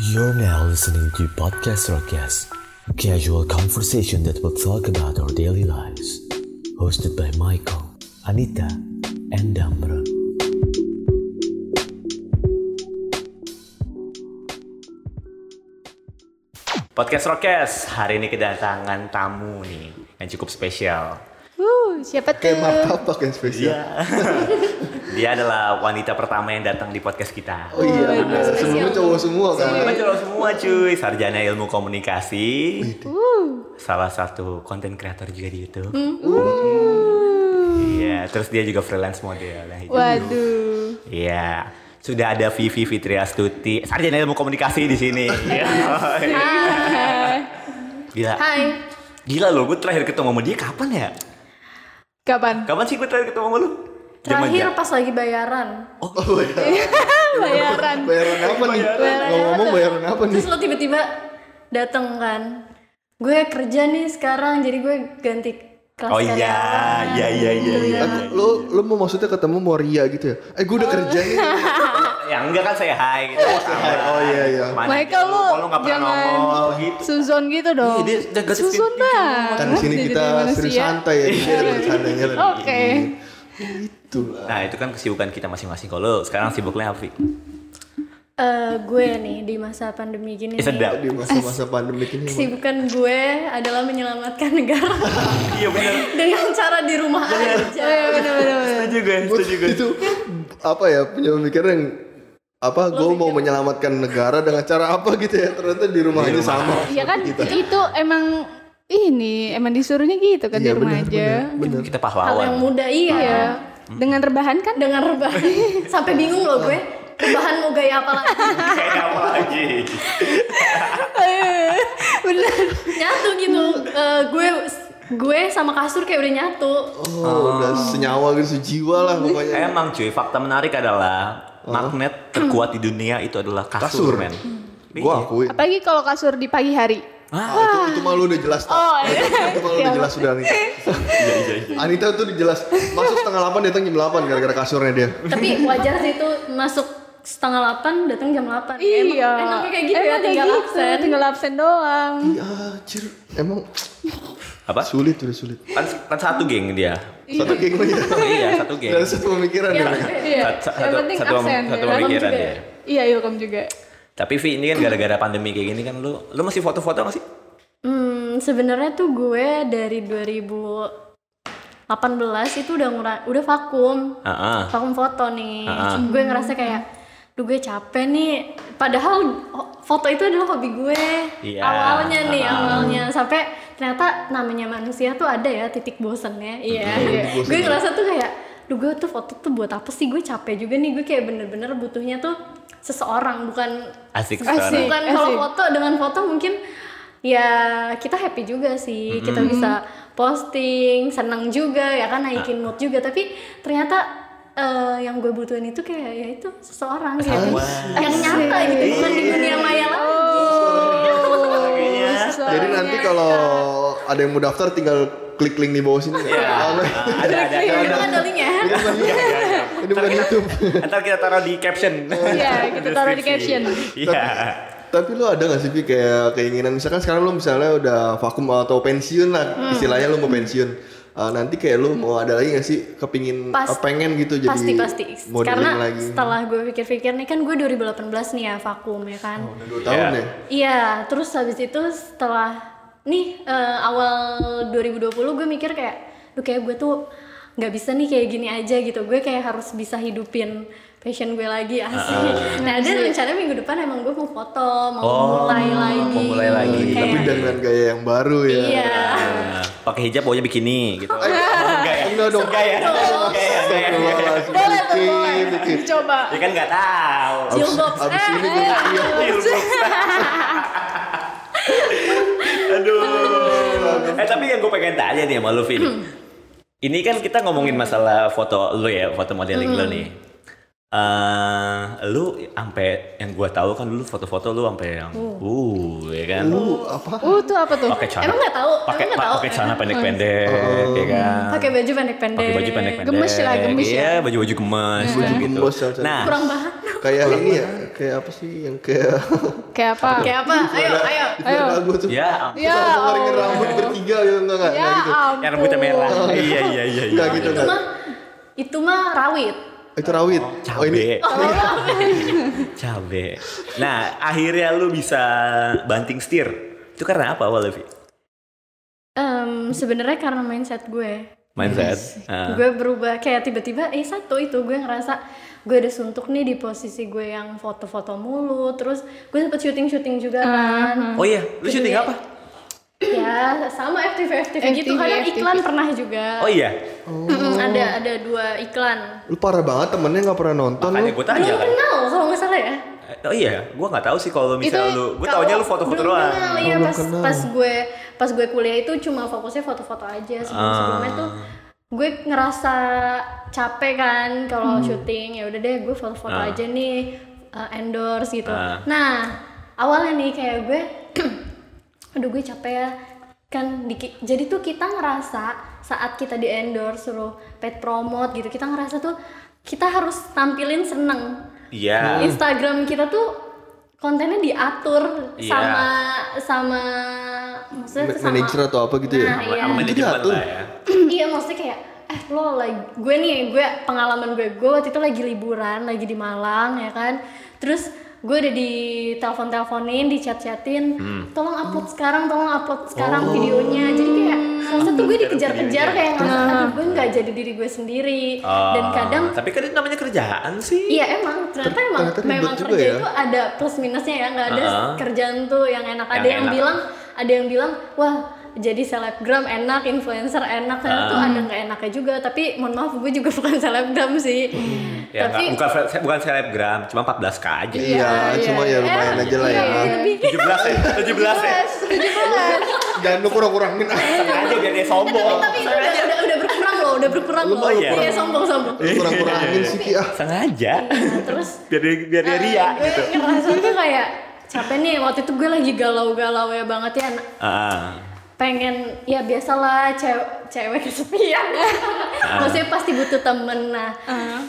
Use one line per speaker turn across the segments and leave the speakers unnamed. You're now listening to Podcast Rockcast, a casual conversation that will talk about our daily lives. Hosted by Michael, Anita, and Damron. Podcast Rockcast, hari ini kedatangan tamu nih yang cukup spesial.
Wuh, siapa tuh?
Kayak martabak yang spesial.
Iya. Dia adalah wanita pertama yang datang di podcast kita.
Oh iya,
Waduh,
benar.
spesial. Iya.
Sebelumnya cowok semua kan.
Teman-teman cowok semua cuy, sarjana ilmu komunikasi,
Wuh,
salah satu konten kreator juga di YouTube.
Mm.
Iya, terus dia juga freelance model. Nah, itu.
waduh.
Iya. Sudah ada Vivi Fitri Astuti, sarjana ilmu komunikasi di sini. Iya.
Hai.
Gila.
Hai.
Gila loh, gue terakhir ketemu sama dia kapan ya?
Kapan?
Kapan sih gue terakhir ketemu sama lu? Zaman
Terakhir
ja-
Iya, pas lagi bayaran.
Oh iya.
Bayaran.
Bayaran apa nih? Ngomong-ngomong bayaran apa nih?
Terus
Iya.
lo tiba-tiba dateng kan. Gue kerja nih sekarang jadi gue ganti kelas
Oh iya,
karyawan.
iya iya iya. iya.
Eh, Lu lu mau maksudnya ketemu Moria gitu ya? Eh gue
Oh.
udah kerja nih.
Ya enggak kan saya hai gitu.
Oh iya iya.
Mana
Michael
gitu,
lu
kok nggak pernah
jangan
ngomong gitu.
Suzon gitu dong.
Iya, dia jaga gitu.
Suzon
skin-
banget.
Kan di sini
Jadi
kita
manusia.
serius santai ya, di sini ada bercandanya dan
Iya. Oke.
Itulah.
Nah, itu kan kesibukan kita masing-masing. Kalau lu sekarang sibuknya apa, Vi?
Eh, gue nih di masa pandemi gini.
Eh,
nih,
sedap.
Di masa-masa pandemik ini emang
Kesibukan gue adalah menyelamatkan negara
Iya benar.
dengan cara di rumah
Iya,
aja.
Setuju gue, setuju gue.
itu apa ya punya pemikiran yang apa gue mau menyelamatkan negara dengan cara apa gitu ya ternyata di rumah ini sama
Iya kan itu emang ini emang disuruhnya gitu kan di
Iya,
rumah
benar,
aja.
benar
Kita
Hal yang
pahlawan.
muda iya.
Iya. Dengan rebahan kan
Dengan rebahan sampai bingung loh gue. Rebahan mau gaya apa lagi?
Kayak apa lagi?
bener.
nyatu gitu. Eh, gue gue sama kasur kayak udah nyatu.
oh udah senyawa gitu sejiwa
Iya.
lah pokoknya
Emang cuy, fakta menarik adalah magnet terkuat di dunia itu adalah kasur,
Kasur.
men.
Iya.
Iya.
gue akui
Apalagi kalau kasur di pagi hari.
Ah, itu, itu malu udah jelas tak.
Oh, iya.
itu malu udah jelas sudah Anita.
Iya, iya, iya.
Anita tuh dijelas masuk setengah 8 datang jam 8 gara-gara kasurnya dia.
Tapi wajar sih itu masuk setengah 8 datang jam
Iya.
8. Emang, enaknya kayak gitu
Emang
ya
kayak
tinggal
gitu,
absen.
Tinggal absen doang.
Iya, anjir. Emang
Apa?
sulit udah sulit.
Kan, kan satu geng dia.
Satu geng lu ya.
iya, satu geng.
Dan satu pemikiran ya. mereka.
Iya.
Sat- sat- satu- satu pem- satu
ya.
pemikiran
Welcome
ya.
juga. Iya, welcome juga.
Tapi Vi, ini kan gara-gara pandemi kayak gini kan lu lu masih foto-foto gak sih?
Hmm, sebenarnya tuh gue dari 2018 itu udah ngura- udah vakum.
Heeh.
Vakum foto nih.
Ah.
Gue ngerasa kayak duh gue capek nih. Padahal ho- foto itu adalah hobi gue.
Iya.
Awalnya nih,
Ah.
awalnya sampai ternyata namanya manusia tuh ada ya titik bosennya. Iya. iya.
titik bosen.
gue ngerasa tuh kayak duh gue tuh foto tuh buat apa sih? Gue capek juga nih. Gue kayak bener-bener butuhnya tuh seseorang bukan
Asik
Asik.
sekarang.
bukan kalau
Asik.
foto dengan foto mungkin ya kita happy juga sih kita bisa posting senang juga ya kan naikin mood juga tapi ternyata eh, yang gue butuhin itu kayak ya itu seseorang kayak yang nyata gitu bukan di dunia maya lagi
Oh, sesuai.
Jadi nanti kalau ada yang mau daftar tinggal klik link di bawah sini.
Iya. Ah, Ada ada.
Iya.
ada. Iya,
Itu kan ada linknya
Ini bukan Ini bukan YouTube.
Ntar kita taruh di caption.
Iya, kita taruh di caption.
Iya.
Tapi lu ada gak sih Vi kayak keinginan misalkan sekarang lu misalnya udah vakum atau pensiun lah istilahnya lu mau pensiun Uh, nanti kayak lu mau ada lagi gak sih kepingin
Pas-
uh, pengen gitu jadi
pasti pasti
modeling
karena
lagi
setelah gue pikir-pikir nih kan gue 2018 nih ya vakum ya kan
udah 2 tahun
Iya.
ya
Iya, terus habis itu setelah nih eh, awal 2020 gue mikir kayak duh kayak gue tuh nggak bisa nih kayak gini aja gitu. Gue kayak harus bisa hidupin passion gue lagi
Ah,
asli. Nah, dan rencana minggu depan emang gue mau foto, mau
Oh,
mulai lagi.
mau mulai lagi.
Kayak-
tapi dengan gaya yang baru ya
Iya.
Nah, Pakai hijab pokoknya bikini gitu. Enggak ya?
enggak dong
Enggak ya? Enggak ya? Enggak ya?
Astagfirullahaladzim.
Boleh tuh,
Bikin,
boleh.
bikin.
Coba.
Ya kan nggak tahu.
Abis,
Jilbab.
abis
Eh,
ini gue
Iya, Aduh. Eh tapi yang gue pengen tanya nih sama lu Vin.
Hmm.
Ini kan kita ngomongin masalah foto lu ya, foto modeling
Hmm.
lu nih. Eh, lu sampai yang gua tahu kan dulu foto-foto lu sampai yang uh, ya kan.
lu apa
Uh, tuh apa tuh?
Pakai celana.
Oh. Emang nggak tahu?
Pakai pa-
Emang nggak tahu? Oh, iya.
pakai celana pendek-pendek ya kan.
Pakai baju pendek-pendek.
Pakai baju pendek-pendek.
Gemes lah, gemes
Iya,
ya.
baju-baju gemes.
Baju
gitu.
gemes, ya, ya.
Nah,
Kurang bahan.
kayak ini ya kayak apa sih yang kayak
Kayak apa?
Kayak apa? Ayo, ayo.
itu ada lagu tuh
Ya, ampun.
Ya
Sama ngeringin
Allah.
rambut bertiga gitu enggak enggak
Ya
enggak gitu
ampun.
Yang rambutnya merah.
Oh.
iya, iya, iya. iya.
Enggak gitu
itu
enggak
mah itu mah rawit
itu rawit oh ini Oh.
Cabe. Cabe. Nah, akhirnya lu bisa banting setir. Itu karena apa awalnya, Vi?
Em, sebenarnya karena mindset gue
Mindset. Ah.
gue berubah kayak tiba-tiba eh satu itu gue ngerasa gue ada suntuk nih di posisi gue yang foto-foto mulu terus gue sempet syuting-syuting juga kan
Oh iya, lu syuting apa?
ya sama FTV FTV, gitu
FTV.
kadang iklan pernah juga
Oh iya,
Mm, ada ada dua iklan
lu parah banget temennya nggak pernah nonton Oh, lu
makanya gue tanya
belum
kan.
kenal kalau nggak salah ya
Oh iya, gue nggak tahu sih kalau misalnya
Itu
lu, gue taunya lu foto-foto
Belum
doang.
kenal, iya pas pas gue pas gue kuliah itu cuma fokusnya foto-foto aja
Ah.
sebelum sebelumnya tuh gue ngerasa capek kan kalau syuting ya udah deh gue foto-foto
Ah.
aja nih uh, endorse gitu
Ah.
nah awalnya nih kayak gue aduh gue capek ya kan di- jadi tuh kita ngerasa saat kita di endorse suruh paid promote gitu kita ngerasa tuh kita harus tampilin seneng
Iya.
Hmm.
Instagram kita tuh kontennya diatur
Iya.
sama sama maksudnya tuh Iya, sama
manajer atau apa gitu ya
Nah, iya.
Sama
Itu
manajemen
diatur.
lah ya.
iya maksudnya kayak eh lo lagi gue nih gue pengalaman gue gue waktu itu lagi liburan lagi di Malang ya kan terus gue udah di telepon teleponin di chat chatin
Hmm.
tolong upload sekarang tolong
Oh.
upload sekarang videonya jadi kayak harusnya tuh gue dikejar-kejar kayak ngerasa
Nah.
aduh gue nggak jadi diri gue sendiri dan
Ah,
kadang
tapi kan itu namanya kerjaan sih.
Iya emang ternyata emang
ternyata ribet
memang
juga
kerja
ya.
itu ada plus minusnya ya nggak ada
Uh-uh.
kerjaan tuh yang enak ada
Yang
yang
enak.
bilang ada yang bilang wah jadi selebgram enak influencer enak ternyata tuh
Uh-huh.
ada nggak enaknya juga tapi mohon maaf gue juga bukan selebgram sih
Ya,
tapi
nggak- bukan bukan selebgram, cuma 14k aja.
iya cuma ya lumayan aja lah ya
iya, lebih
17 ya, 17 ya.
jangan lu kurang-kurangin ah.
Sengaja biar dia sombong.
tapi itu udah, udah udah berkurang loh udah berkurang
Lu
loh
mau
ya?
iya sombong sombong
Lu kurang-kurangin sih Ki, ah
Sengaja.
Nah, terus
Biar dia, biar dia ria
eh, gue
gitu.
ngerasa tuh kayak capek nih waktu itu gue lagi galau-galau ya banget ya
Ah,
pengen ya biasalah cewek cewek kesepian maksudnya pasti butuh temen nah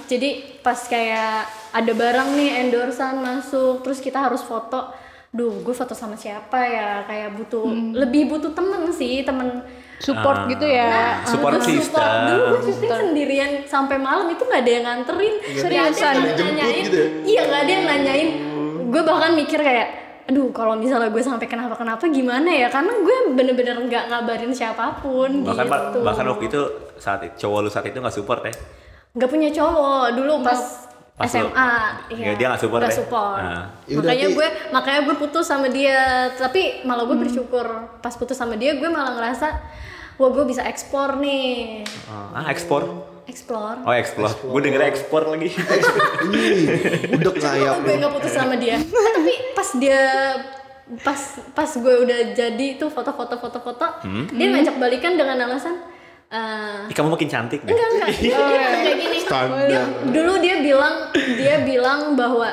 jadi pas kayak ada barang nih endorsean masuk terus kita harus foto duh gue foto sama siapa ya kayak butuh lebih butuh temen sih temen
Ah.
Support gitu ya.
support
Butuh
system.
support. Ah, dulu gue syuting sendirian sampai malam itu nggak ada yang nganterin
Seriusan?
Nggak ada yang
Dijemput
nanyain
gitu ya?
iya nggak ada yang nanyain
Hmm.
gue bahkan mikir kayak aduh kalau misalnya gue sampai kenapa kenapa gimana ya karena gue bener-bener nggak ngabarin siapapun
bahkan
gitu
bahkan waktu itu saat cowok lu saat itu nggak support ya.
nggak punya cowok dulu pas,
Pas lu-
SMA
Ya, dia nggak support
iya. nggak
ya?
support.
Ah.
Ya udah,
makanya
Ki.
gue makanya gue putus sama dia tapi malah
Hmm.
gue bersyukur pas putus sama dia gue malah ngerasa wah gue bisa ekspor nih
Ah, ekspor.
explore
Oh, ekspor. Gue denger ekspor lagi.
Ih, udah kayak
Kalau gue nggak putus sama dia Eh, tapi pas dia pas pas gue udah jadi tuh foto-foto foto-foto dia
Hmm?
ngajak balikan dengan alasan eh
Ih, kamu makin cantik deh.
enggak enggak dia bilang kayak gini
Iya.
dia, dulu dia bilang dia bilang bahwa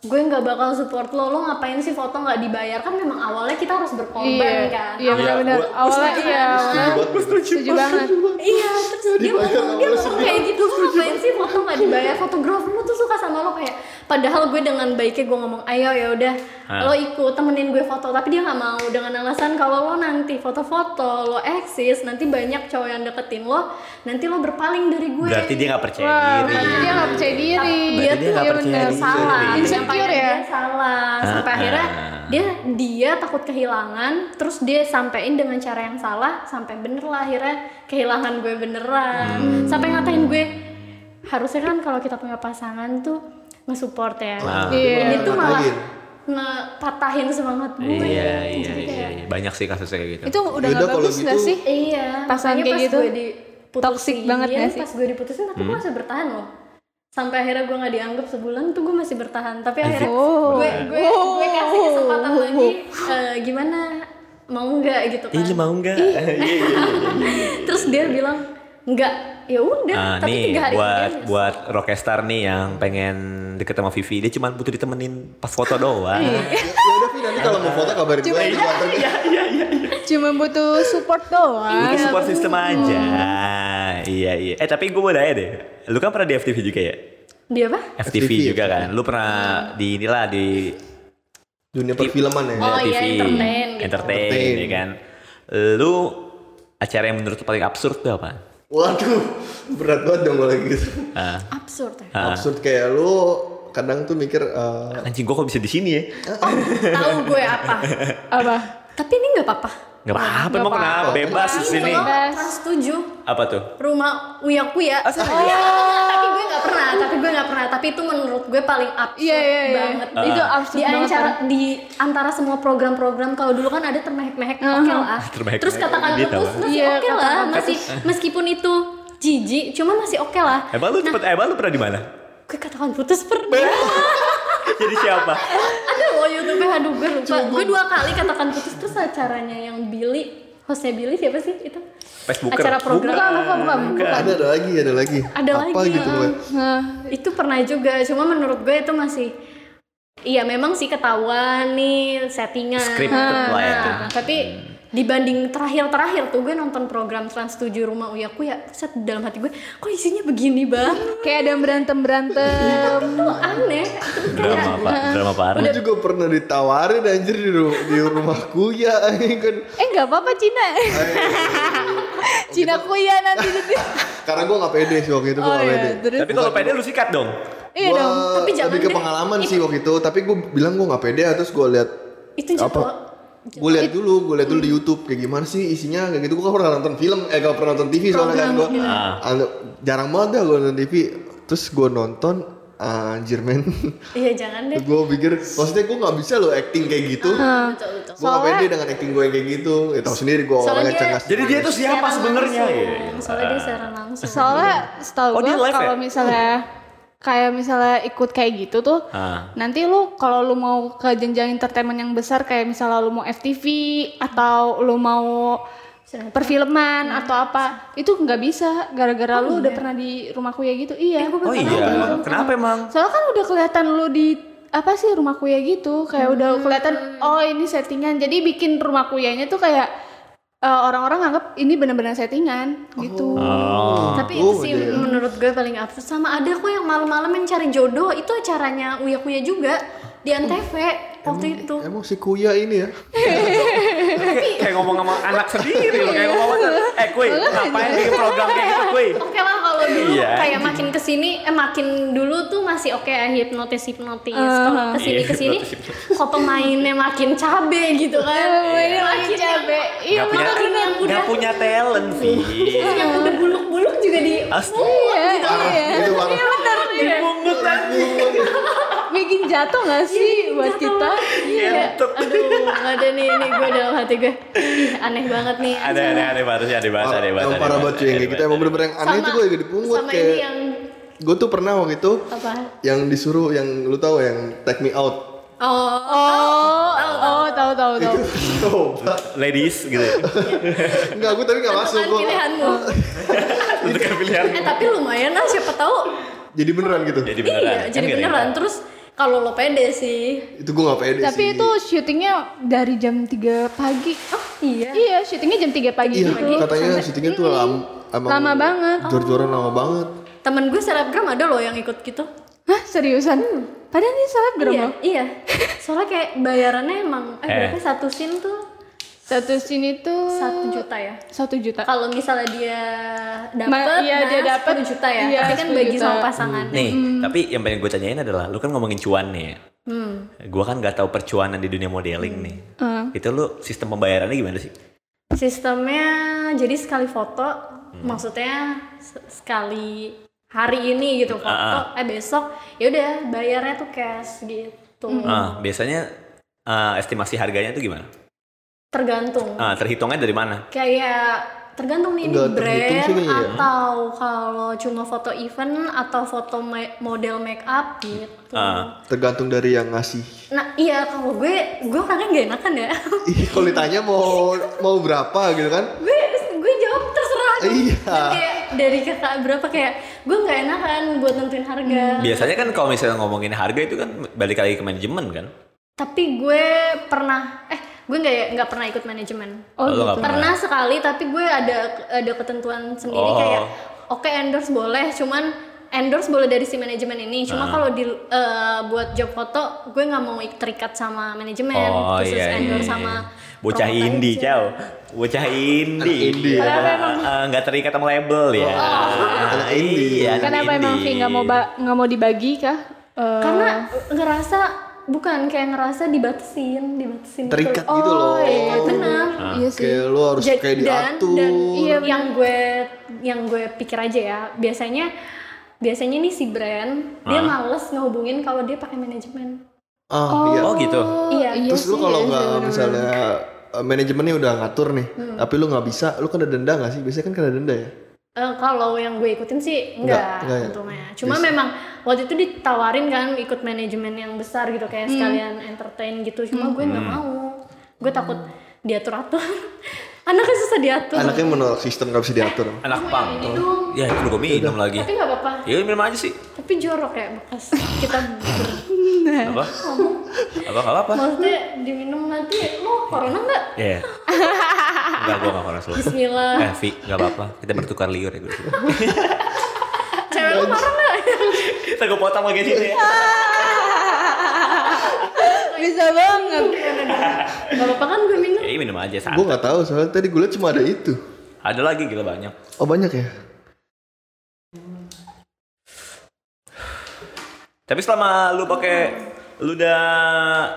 gue nggak bakal support lo lo ngapain sih foto nggak dibayar kan memang awalnya kita harus berkorban
Iya,
kan
iya benar-benar.
Iya, gua-
Awalnya iya, awalnya setuju banget.
Iya, terus dia
dibayar
ngomong, dia
awalnya
ngomong kayak gitu, "Lu ngapain sih foto gak dibayar fotografermu tuh suka sama lo kayak Padahal gue dengan baiknya gue ngomong, ayo ya udah
Hah.
lo ikut temenin gue foto Tapi dia gak mau dengan alasan kalau lo nanti foto-foto, lo eksis Nanti banyak cowok yang deketin lo, nanti lo berpaling dari gue
Berarti dia nggak percaya
Wah,
diri. Iya,
Iya, berarti dia nggak percaya
Berarti
diri.
dia nggak
Iya,
percaya
bener.
diri.
salah
Insecure
penyampaian
ya?
dia salah sampai
Ah,
akhirnya
ah.
dia dia takut kehilangan terus dia sampein dengan cara yang salah sampai bener lah akhirnya kehilangan gue beneran
Hmm.
sampai ngatain gue harusnya kan kalau kita punya pasangan tuh nge-support ya
Ah.
Iya.
ini tuh malah
Patahin.
ngepatahin semangat gue
Iya, iya,
Jadi
iya,
kayak,
iya. Banyak sih kasusnya kayak gitu.
Itu udah
Yaudah,
nggak
kalau
bagus nggak
gitu-
sih?
iya
Pasangan kayak
makanya pas
gitu,
gue diputusin, Iya,
toxic banget nggak sih?
pas gue diputusin tapi
Hmm.
gue masih bertahan loh sampai akhirnya gue nggak dianggap sebulan tuh gue masih bertahan tapi akhirnya
Oh.
gue gue gue kasih kesempatan lagi eh, gimana mau nggak gitu
Ih,
kan
lu mau nggak? Iya, iya, iya.
terus dia bilang nggak ya udah
Nah,
tapi
nih
tiga hari
buat
kemudian
buat rockstar nih yang pengen deket sama Vivi, dia cuma butuh ditemenin pas foto doang.
Iya,
ya udah Vi nanti kalau mau foto kabarin gue nanti gua anterin.
Cuma butuh support doang.
Butuh support iya. system aja. Iya, iya. Eh, tapi gue mau nanya deh. Lu kan pernah di FTV juga ya?
Dia apa?
FTV,
FTV,
juga kan. Lu pernah di inilah di
Dunia perfilman ya.
Oh,
TV,
iya, entertain gitu.
entertain,
Entertain.
ya kan. Lu acara yang menurut lu paling absurd tuh apa?
Waduh, berat banget dong kalau gitu.
Ah,
Absurd ya.
Ah.
Absurd kayak lu kadang tuh mikir eh,
anjing gua kok bisa di sini ya?
Oh, tahu gue apa.
Apa?
Tapi ini nggak apa-apa.
Gak apa-apa,
Nggak
emang kenapa?
apa-apa.
Bebas di
Ini
sini.
loh,
Bebas.
Trans 7.
Apa tuh?
rumah uya kuya oh, iya. tapi gue nggak pernah tapi gue nggak pernah tapi itu menurut gue paling absurd
Iya, iya, iya.
banget
Itu
Ah.
absurd
di
banget,
acara
kan?
di antara semua program-program kalau dulu kan ada termehek-mehek oke lah
Termehek-mehek,
terus katakan
gitu.
putus masih
Iya,
oke lah
kata-kata.
masih meskipun itu jijik cuma masih oke lah
Emang lu cepet, emang lu pernah di mana?
gue katakan putus pernah
Jadi siapa?
ada loh youtube aduh gue lupa gue dua kali katakan putus terus acaranya yang Billy hostnya Billy siapa sih itu
Facebooker.
acara program
Bukan,
Bukan, bukan, bukan.
ada ada lagi, ada lagi.
Ada
apa
lagi,
gitu
ah.
mulai.
Nah,
itu pernah juga cuma menurut gue itu masih iya memang sih ketahuan nih settingan
Scripted lah ya.
Nah, tapi dibanding terakhir-terakhir tuh gue nonton program Trans 7 Rumah Uya Kuya set dalam hati gue kok isinya begini banget
kayak ada yang
Iya.
berantem-berantem.
itu aneh Itu kayak-
Drama, Pak. Drama parah.
Aku juga pernah ditawarin anjir di, ru- di rumahku ya anjing kan.
eh, nggak apa-apa Cina. Cina kuya nanti nanti.
Karena gue gak pede sih waktu itu gue
Oh
gak
iya,
pede.
terus.
Tapi kalau pede lu sikat dong.
Iya
Gua
dong.
Tapi jangan
lebih ke
deh.
pengalaman sih waktu itu. Tapi gue bilang gue gak pede, terus gue lihat
itu jatuh
gue lihat dulu, gue lihat dulu di YouTube kayak gimana sih isinya kayak gitu. Gue gak pernah nonton film, eh gak pernah nonton TV soalnya kan gue
gitu.
Ah.
jarang banget dah gue nonton TV. Terus gue nonton ah, anjir men,
iya jangan deh
gue pikir maksudnya gue nggak bisa loh acting kayak gitu.
Betul, betul.
Gue gak
Soalnya-
pede dengan acting gue yang kayak gitu. Ya tau sendiri gue
Soalnya
orangnya gitu.
dia-
cengas.
Jadi dia tuh siapa
Siaran
sebenarnya?
langsung.
Iya, iya.
soalnya dia siaran langsung
Soalnya setahu
Oh,
gue
dia live
kalau
ya?
misalnya kayak misalnya ikut kayak gitu tuh,
Ah.
nanti lu kalau lu mau ke jenjang entertainment yang besar kayak misalnya lu mau FTV atau lu mau
Sinetron.
perfilman atau apa, itu nggak bisa gara-gara lu udah pernah di rumahku ya gitu. Iya.
Oh iya. Kenapa emang?
Soalnya kan udah kelihatan lu di apa sih rumah kuya gitu, kayak udah kelihatan oh ini settingan. Jadi bikin rumah kuyanya tuh kayak eh, orang-orang anggap ini benar-benar settingan gitu.
Oh.
tapi itu
Oh,
sih
iya.
menurut gue paling absurd sama ada kok yang malam-malam yang cari jodoh itu acaranya uya kuya juga di antv
Hmm.
waktu itu
Emang si Kuya ini ya?
Kayak ngomong sama anak sendiri loh. Kayak ngomong sama Eh kuy, ngapain bikin program kayak gitu kuy?
Oke lah kalau dulu
Iya.
kayak makin kesini, eh makin dulu tuh masih oke ya, hipnotis hipnotis. kalau kesini
Iya,
kesini,
hipnotis-hipnotis.
kok pemainnya makin cabe gitu kan?
Iya.
Pemainnya makin cabe. Iya
Gak punya,
makin yang udah
gak punya talent, Vi.
yang udah buluk-buluk juga di.
Astaga.
Iya,
Parah, itu parah.
Dibungut anjing.
bikin jatuh gak sih buat kita?
Iya.
Kentut.
Aduh, nggak ada nih, ini gue dalam hati gue. Ih, Aneh banget nih.
Ada, ada, ada batas, ada batas,
Parah,
ada batas.
yang parah banget cuy, yang kayak gitu emang bener-bener yang aneh tuh gue juga dipungut
sama ini
kayak
yang
gue tuh pernah waktu itu
apa?
yang disuruh yang lu tahu ya, yang take me out
Oh,
Oh, oh, tahu tahu tahu.
coba
Ladies gitu.
enggak gue tapi nggak masuk
bukan
gue
ya.
pilihanmu.
Tentukan pilihan.
Eh tapi lumayan lah, siapa tahu
jadi beneran gitu
Jadi beneran.
Iya,
Kan
jadi
gak ada yang
beneran.
tahu.
Terus kalau lo pede sih.
itu gue nggak pede
Tapi
sih
itu syutingnya dari jam 3 pagi.
Oh, iya.
Iya, syutingnya jam 3 pagi
iya
gitu.
katanya syutingnya tuh lam, emang
Lama banget. Oh.
jor-joran lama banget
Temen gue selebgram ada loh yang ikut gitu.
Hah, seriusan? Padahal ini selebgram
iya,
loh.
iya. Soalnya kayak bayarannya emang eh,
Eh.
berapa satu scene tuh?
Satu sini tuh
Satu juta ya.
satu juta.
Kalau misalnya dia dapat,
Ma- iya, dia dapat.
10 juta ya.
Iya,
Tapi kan
10
bagi
juta.
sama pasangannya.
Nih, tapi yang pengen gue tanyain adalah, lu kan ngomongin cuan nih. ya. Gue kan gak tahu percuanan di dunia modeling nih.
Hmm.
Itu lu sistem pembayarannya gimana sih?
Sistemnya jadi sekali foto,
Hmm.
maksudnya se- sekali hari ini gitu foto,
Ah,
eh besok ya udah bayarnya tuh cash gitu.
Ah, biasanya ah, estimasi harganya itu gimana?
Tergantung.
Ah, terhitungnya dari mana?
kayak tergantung nih ini
Nggak terhitung
brand
sih kayaknya ya.
atau kalau cuma foto event atau foto ma- model make up gitu.
Ah.
tergantung dari yang ngasih
Nah iya kalau gue gue orangnya gak enakan ya.
Ih, kalau ditanya mau mau berapa gitu kan
gue gue jawab terserah. dong.
Iya.
Dan kayak dari kakak berapa kayak gue nggak enakan buat nentuin harga.
Biasanya kan kalau misalnya ngomongin harga itu kan balik lagi ke manajemen kan?
Tapi gue pernah eh gue nggak nggak pernah ikut manajemen.
Oh,
Lu nggak
gitu.
pernah sekali tapi gue ada ada ketentuan sendiri
Oh.
kayak oke endorse boleh cuman endorse boleh dari si manajemen ini cuma
Nah.
kalau di eh, buat job foto gue nggak mau terikat sama manajemen
Oh
khusus
iya, iya,
endorse
iya.
sama
Bocah
promotor
indie,
aja.
Cao. Bocah indie.
indie.
Kenapa emang?
Eh, Nggak terikat sama label ya.
Anak indie.
Iya, anak
Kenapa emang
indie.
Vi nggak mau ba- nggak mau dibagi kah? Eh,
karena ngerasa bukan kayak ngerasa dibatasin dibatasin gitu.
terikat
Oh,
gitu loh.
iya,
benar.
Ah.
iya sih.
Kayak lu harus
Ja-
kayak
dan,
diatur.
dan
Iya,
yang gue yang gue pikir aja ya biasanya biasanya nih si brand dia males ngehubungin kalau dia pakai manajemen
ah, iya.
Oh gitu.
Iya.
Terus lu
sih,
kalau
iya
nggak
sih,
misalnya eh, manajemennya udah ngatur nih,
Hmm.
tapi lu nggak bisa, lu kena denda nggak sih? Biasanya kan kena denda ya.
Eh, kalau yang gue ikutin sih enggak,
enggak ya?
untungnya. Cuma memang waktu itu ditawarin kan ikut manajemen yang besar gitu kayak sekalian entertain gitu. Cuma gue nggak mau. Gue takut diatur atur. Anaknya susah diatur.
Anaknya menolak sistem nggak bisa diatur.
Anak pang.
ini dong.
Ya itu gue minum lagi.
Tapi nggak apa-apa.
Ya minum aja sih.
Tapi jorok ya bekas kita.
Apa? Apa nggak apa-apa.
Maksudnya diminum nanti lo corona nggak?
Iya. Enggak, gue nggak koras lu. Eh,
Bismillah.
Vi, nggak apa-apa. Kita bertukar liur ya gue.
Cewek lo marah nggak?
Kita gue potong lagi sini ya.
Bisa banget.
Gak apa-apa kan gue minum.
Ya, ini minum aja
Gue
santai.
nggak tahu soalnya tadi gue liat cuma ada itu.
Ada lagi gila banyak.
Oh banyak ya?
Tapi selama lu pakai lu udah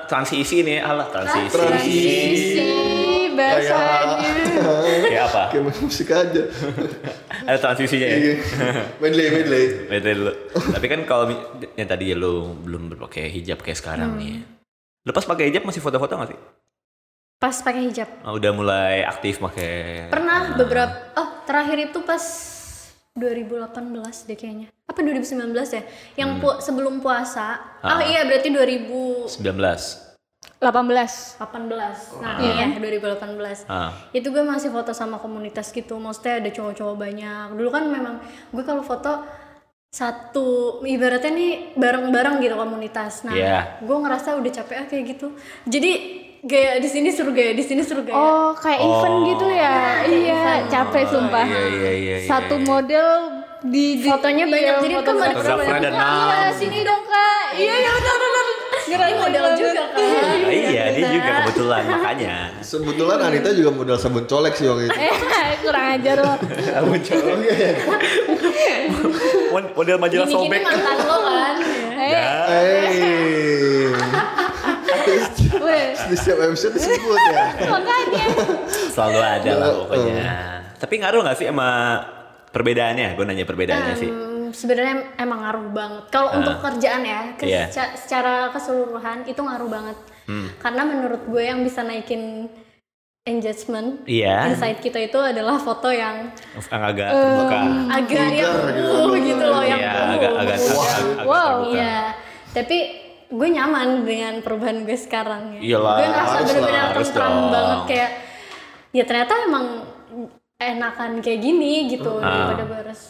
transisi nih, alah transisi.
Transisi.
Ih, bahasanya.
Kayak Ya, apa?
Kayak main musik aja.
Ada transisinya ya.
Iya. medley, medley.
Beda dulu. Tapi kan kalau mi- yang tadi lu belum berpakai hijab kayak sekarang nih. Lepas pakai hijab masih foto-foto gak sih?
Pas pakai hijab.
Oh, Udah mulai aktif pakai
Pernah beberapa oh terakhir itu pas 2018 deh kayaknya. Apa 2019 ya? Yang pu- sebelum puasa. Oh
Hmm. Ah.
iya berarti
19.
2018.
18.
Nah, iya 2018.
Oh. Ah.
Itu gue masih foto sama komunitas gitu. Maksudnya ada cowok-cowok banyak. Dulu kan memang gue kalau foto satu ibaratnya nih bareng-bareng gitu komunitas. Nah,
Iya.
gue ngerasa udah capek ah kayak gitu. Jadi gaya di sini suruh gaya di sini suruh gaya.
Oh, kayak event gitu ya. iya, capek sumpah.
iya, iya, iya, iya,
Satu
iya.
model di, di-
Fotonya
iya,
banyak, jadi
foto
kan
banyak.
mereka
Fotografernya ada
banyak.
enam.
Iya, sini dong, Kak. Iya, iya benar benar.
Ini model juga kan.
Ah, iya, dia juga kebetulan makanya.
Sebetulnya Anita juga modal sabun colek sih waktu itu.
Eh, kurang ajar lo.
Mod- Model majalah
Gini gini
sobek.
mantan lo kan.
Eh,
Eh.
weh.
Di setiap episode disebut ya.
Makanya.
Selalu ada lah
Iya.
pokoknya. Tapi ngaruh gak sih sama perbedaannya? Gue nanya perbedaannya Iya sih. Ah.
Hmm, Sebenarnya emang ngaruh banget. Kalau untuk kerjaan ya, ke-
Iya. Hmm.
seca- secara keseluruhan itu ngaruh banget. Karena menurut gue yang bisa naikin engagement,
Iya.
insight kita itu adalah foto yang
Agak terbuka.
Eh.
agak yang uh, gitu loh, yang
Iya,
uh,
agak agak
uh.
agak- agak
Wow.
terbuka.
Iya. Tapi gue nyaman dengan perubahan gue sekarang ya.
Iyalah,
gue ngerasa
harus
bener-bener
lah, harus
tentram
dong.
banget kayak ya ternyata emang enakan kayak gini gitu daripada gue harus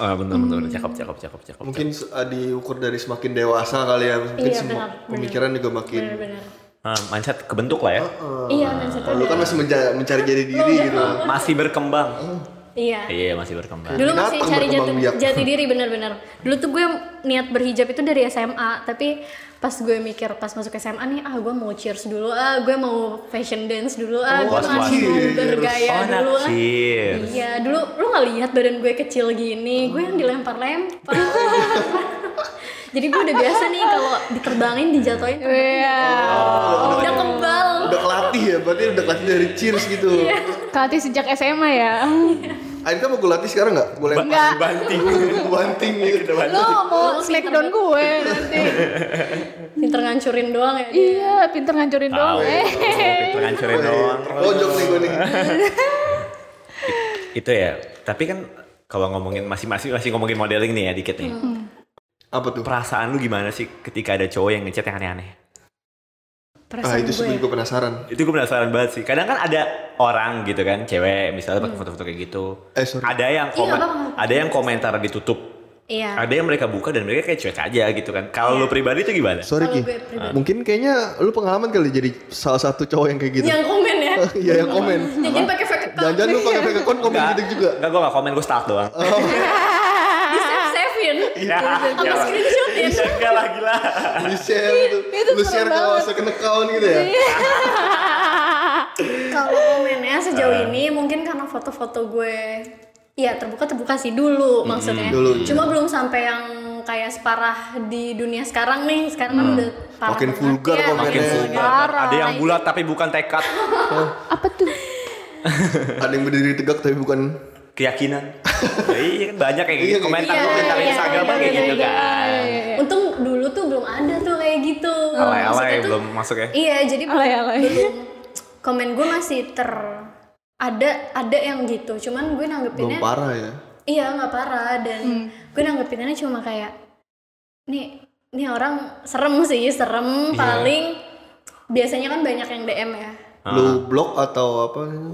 Ah, bener bener bener. cakep cakep cakep cakep.
Eh.
Mungkin se- diukur dari semakin dewasa kali ya. Mungkin
Iya,
sema-
benar, benar.
pemikiran juga makin.
bener-bener.
Ah, mindset kebentuk lah ya.
Eh,
Iya, mindset
Lu kan masih menja- mencari jadi diri gitu.
Masih berkembang.
Iya.
Iya, masih berkembang.
Dulu masih
Binatang
cari jati,
berkembang biak.
jati diri bener-bener. Dulu tuh gue niat berhijab itu dari SMA, tapi pas gue mikir pas masuk SMA nih ah gue mau cheers dulu ah gue mau fashion dance
Oh,
dulu ah gue
was-was.
masih mau bergaya
Oh, anak
dulu ah
cheers.
iya dulu lu nggak lihat badan gue kecil gini gue yang dilempar-lempar jadi gue udah biasa nih kalau diterbangin dijatuhin
Iya.
Oh.
udah kebal
Oh, iya. Udah kelatih ya, berarti udah kelatih dari cheers gitu.
Kati sejak SMA ya.
Akhirnya kamu gue latih sekarang nggak? Gue lempar
Enggak.
Banting.
banting gitu.
Lo mau smackdown gue nanti.
pinter ngancurin doang ya dia.
Iya, pinter ngancurin
Tahu.
dong. Eh.
Pinter ngancurin doang.
Pojok nih gue nih.
Itu ya. Tapi kan kalau ngomongin masih masih masih ngomongin modeling nih ya dikit nih.
Hmm.
Apa tuh?
Perasaan lu gimana sih ketika ada cowok yang ngechat yang aneh-aneh?
Ah
perasaan
itu
gue
sebelum gue penasaran.
Itu gue penasaran banget sih. Kadang kan ada orang gitu kan, cewek misalnya pakai foto-foto kayak gitu.
Eh, sorry.
Ada yang
Hmm. Iya,
komen,
nggak apa-apa.
ada yang komentar ditutup.
iya
Ada yang mereka buka dan mereka kayak cuek aja gitu kan. Kalau lu pribadi itu gimana?
Sorry
Kalau
Ki.
gue pribadi.
Mungkin kayaknya lu pengalaman kali jadi salah satu cowok yang kayak gitu.
yang komen ya
Iya yang komen.
jangan pakai fake account
Jangan-jangan lu pakai fake account komen gitu juga.
Enggak, gue gak komen, gue start doang. Ya,
Gitu, Apa screenshot ya?
Bisa enggak lah gila.
Lu share gitu.
Itu
Lu
serem
share kalau
banget.
second account gitu ya.
Kalau komennya sejauh
Ah.
ini mungkin karena foto-foto gue ya terbuka-terbuka sih dulu maksudnya.
dulu,
iya.
Cuma belum sampai yang kayak separah di dunia sekarang nih. Sekarang kan udah parah.
Makin
banget.
vulgar
Iya,
Hmm.
komennya.
Makin
Parah.
vulgar. Ada yang bulat tapi bukan tekad.
Apa tuh?
Ada yang berdiri tegak tapi bukan
Keyakinan. Ya, iya kan banyak kayak
Iya,
gitu.
kayak
Komentar
gitu.
komentar
Iya,
Instagram
iya,
kayak
iya,
gitu
iya,
kan.
Untung dulu tuh belum ada tuh kayak gitu.
Alay-alay
Maksudnya tuh-
belum masuk ya.
Iya, jadi
Alay-alay.
belum komen gue masih ter ada ada yang gitu. Cuman gue
belum
nanggepinnya
parah ya.
Iya nggak parah dan gue nanggepinnya cuma kayak nih nih orang serem sih serem
Iya.
paling biasanya kan banyak yang DM ya
Lu blok atau apa gitu.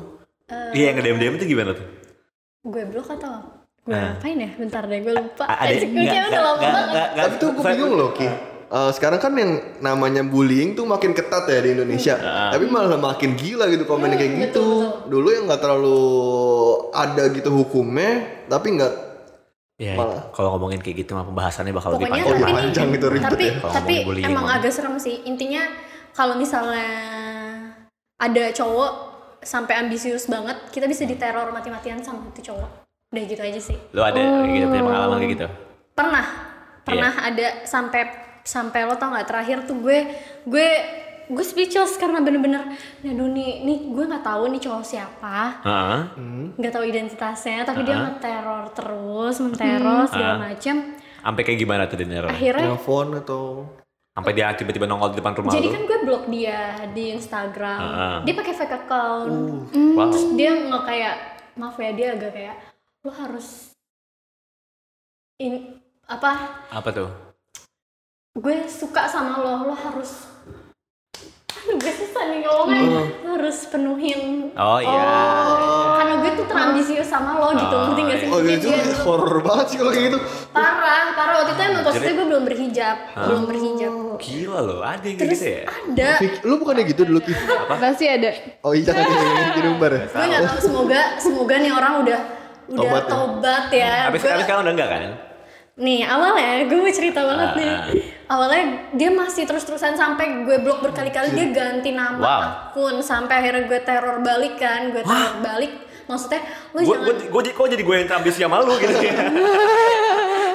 Iya yang ngedem-dem itu gimana tuh?
gue blok atau apa? gue
Ah.
ngapain ya bentar deh gue lupa
A- Ada
Anjir, gue kayak udah lama banget
Tapi tuh gue bingung loh, Ki. Eh, sekarang kan yang namanya bullying tuh makin ketat ya di Indonesia. Tapi malah makin gila gitu komennya kayak
Hmm,
gitu.
betul,
Dulu yang nggak terlalu ada gitu hukumnya, tapi nggak
Ya,
Malah.
kalau ngomongin kayak gitu mah pembahasannya bakal lebih
pokoknya
panjang.
tapi nih
panjang itu ribet
tapi
ya.
Kalau
tapi
ngomongin bullying
emang
mah.
agak serem sih intinya kalau misalnya ada cowok sampai ambisius banget kita bisa diteror mati-matian sama itu cowok udah gitu aja sih
Lu ada kayak gitu,
Oh.
punya pengalaman kayak gitu?
pernah pernah ada sampai sampai lo tau nggak terakhir tuh gue gue gue speechless karena bener-bener nah nih nih gue nggak tahu nih cowok siapa
Heeh.
nggak tahu identitasnya tapi dia ngeteror terus menteror segala macem
Sampai kayak gimana tuh dinero?
akhirnya
telepon atau
Sampai dia tiba-tiba nongol di depan rumah
jadi
lu?
kan gue blok dia di Instagram
Ah.
dia pakai fake account Hmm.
Wow.
terus dia nggak kayak maaf ya dia agak kayak lo harus in apa
Apa tuh?
gue suka sama lo lo harus aduh gue susah nih ngomongnya
Hmm.
lo harus penuhin
Oh
Oh,
iya.
karena gue tuh terambisius sama lo gitu
Oh,
ngerti gak sih
Oh
Jadi
gitu,
dia tuh
horror banget sih kalau kayak gitu.
parah parah waktu itu emang posisi
Jadi-
gue belum berhijab belum berhijab
Oh.
Gila loh, ada yang kayak
Oh. terus
gitu ya?
ada
Fik- lu bukannya gitu dulu Ki?
Pasti ada.
Oh iya kan yang di nomor ya.
gue nggak tahu semoga semoga nih orang udah udah
Tobat
tobat,
ya?
ya,
Tapi
Gue-
sekarang sekarang udah enggak kan?
Nih awalnya gue mau cerita banget
Ah.
nih Awalnya dia masih terus-terusan sampai gue blok berkali-kali Dia ganti nama
Wow.
akun Sampai akhirnya gue teror balik kan Gue teror balik Maksudnya lu
Gue
jangan
gue kok jadi gue yang terambisi sama lu gitu ya?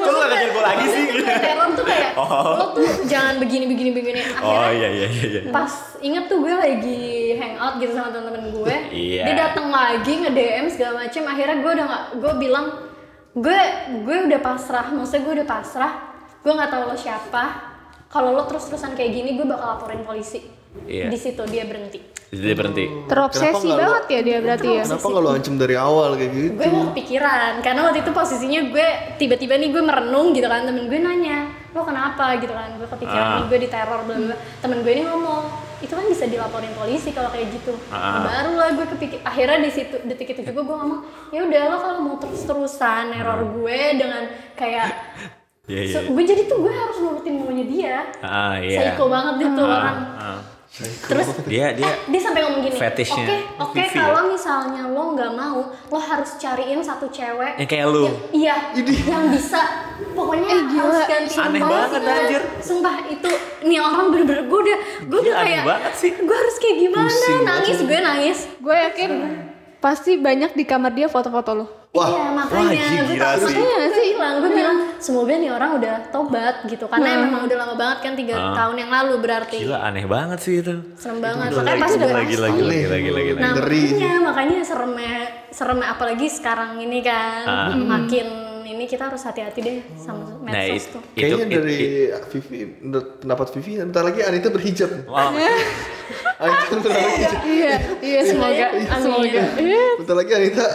Kok lu gak ngajarin gue lagi sih?
Gue teror tuh kayak Lo tuh jangan begini-begini-begini
Oh
Akhirnya
iya iya iya iya.
pas inget tuh gue lagi hangout gitu sama temen-temen gue
Iya.
Dia datang lagi nge-DM segala macem Akhirnya gue udah gak, gue bilang Gue gue udah pasrah, maksudnya gue udah pasrah Gue gak tahu lo siapa kalau lo terus-terusan kayak gini, gue bakal laporin polisi.
Iya.
Di situ dia berhenti.
Jadi dia berhenti.
Hmm.
Terobsesi
nggak lu-
banget ya dia berarti ya.
Kenapa kalau ancam dari awal kayak gitu?
Gue mau kepikiran, karena waktu itu posisinya gue tiba-tiba nih gue merenung gitu kan, temen gue nanya, lo kenapa gitu kan, gue kepikiran
Ah.
nih gue diteror, bla bla. bla. Temen gue ini ngomong, itu kan bisa dilaporin polisi kalau kayak gitu.
Ah.
Baru lah gue kepikir, akhirnya di situ detik itu juga gue ngomong, ya udah lo kalau mau terus-terusan neror gue dengan kayak,
Iya Hmm. iya.
so, gue jadi tuh gue harus nurutin maunya dia.
Ah iya.
Psycho banget dia tuh orang.
Ah.
Terus
Dia dia
Eh, dia sampai ngomong gini. Oke,
Fetishnya.
oke
Vivi ya?
kalau misalnya lo nggak mau, lo harus cariin satu cewek.
Yang kayak lu.
Ya- Iya, yang bisa pokoknya harus ganti
Aneh
nama,
banget,
segala.
anjir.
Sumpah itu nih orang bener-bener gue udah gue udah
Gila, aneh
kayak
banget sih.
Gue harus kayak gimana?
Pusing banget
nangis gue nangis.
Gue yakin pasti banyak di kamar dia foto-foto lo.
Wah,
iya,
wah,
makanya
gila sih.
gue takut makanya gue bilang, gue bilang semoga nih orang udah tobat gitu karena memang udah lama banget kan tiga tahun yang lalu berarti.
Ah. Gila aneh banget sih itu.
Serem banget.
Kan
Makanya pas gue
Lagi lagi
Aneh.
lagi lagi lagi.
Nah,
Ngeri
makanya, makanya seremnya, seremnya apalagi sekarang ini kan makin ini kita harus hati-hati deh sama
Ah. Nah, it-
medsos tuh.
itu
Kayaknya
it-
dari
it-
Vivi, menurut pendapat Vivi, ntar lagi Anita berhijab.
Wow.
Anita bentar lagi,
Iya, iya semoga
Amin.
semoga. Iya.
bentar lagi Anita.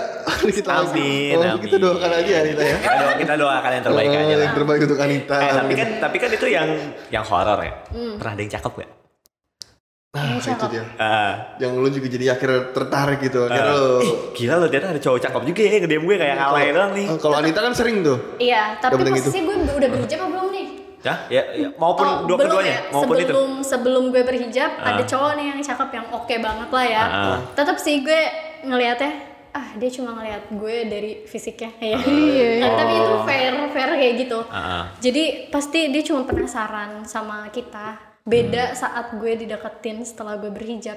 kita lagi.
Amin,
Oh, kita
amin.
doakan aja Anita ya.
Kita doa- Kita doakan yang terbaik aja lah.
Yang terbaik untuk Anita.
Eh, tapi
Amin.
kan tapi kan itu yang yang horor ya.
Hmm.
Pernah ada yang cakep gak?
Nah, itu dia.
Ah.
Yang lu juga jadi akhirnya tertarik gitu. Akhirnya lu-
Ih, Eh, gila loh ternyata ada cowok cakep juga ya ngedem gue kayak alay doang nih.
Eh, Kalau Anita kan sering tuh.
Iya, tapi
bilang gitu.
posisi gue udah berhijab apa belum nih?
Hah? Ya, ya, maupun
Oh,
dua
belum
keduanya,
ya?
maupun itu.
sebelum sebelum gue berhijab ada cowok nih yang cakep yang oke banget lah ya.
Ah.
Tetap sih gue ngeliatnya ah ah dia cuma ngeliat gue dari fisiknya ya
Iya.
tapi itu fair fair kayak gitu
Ah, ah.
jadi pasti dia cuma penasaran sama kita
Hmm.
beda saat gue dideketin setelah gue berhijab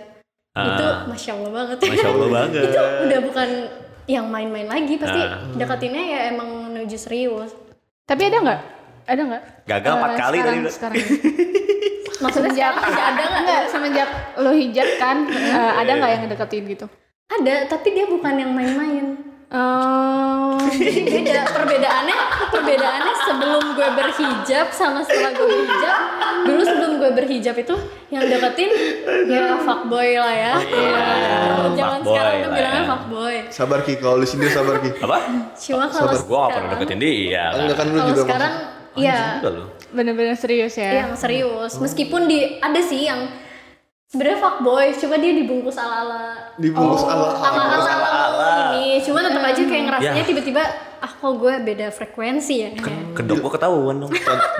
itu masya allah banget
Ah. Masya Allah banget.
itu udah bukan yang main-main lagi pasti
Ah.
deketinnya ya emang menuju serius
Tapi ada nggak? Ada nggak?
Gagal empat
Eh,
kali
sekarang,
tadi udah.
Sekarang.
maksudnya
Semenjak
sekarang udah ada nggak
enggak semenjak lo hijab kan
Iya,
eh, ada nggak yang deketin gitu?
ada tapi dia bukan yang main-main
Eh,
Jadi beda perbedaannya perbedaannya sebelum gue berhijab sama setelah gue berhijab dulu sebelum gue berhijab itu yang deketin ya fuckboy lah ya
Iya,
jangan
fuckboy
sekarang tuh
lah
bilangnya
ya.
fuckboy
Sabar Ki, kalau lu sendiri sabar Ki.
Apa?
cuma kalau
Sabar gua gak pernah
sekarang-
deketin dia. kan.
Enggak kan lu
kalau
juga
sekarang ya
Anjing juga lu.
bener-bener serius ya.
yang serius meskipun di ada sih yang sebenarnya fuckboy cuma dia dibungkus ala ala
maksud- dibungkus ala
ala
Dibungkus
ala
ala-ala.
ini cuma tetap aja kayak
Ya.
ngerasanya tiba-tiba ah kok gue beda frekuensi ya
Kan Kedok gua ketahuan dong.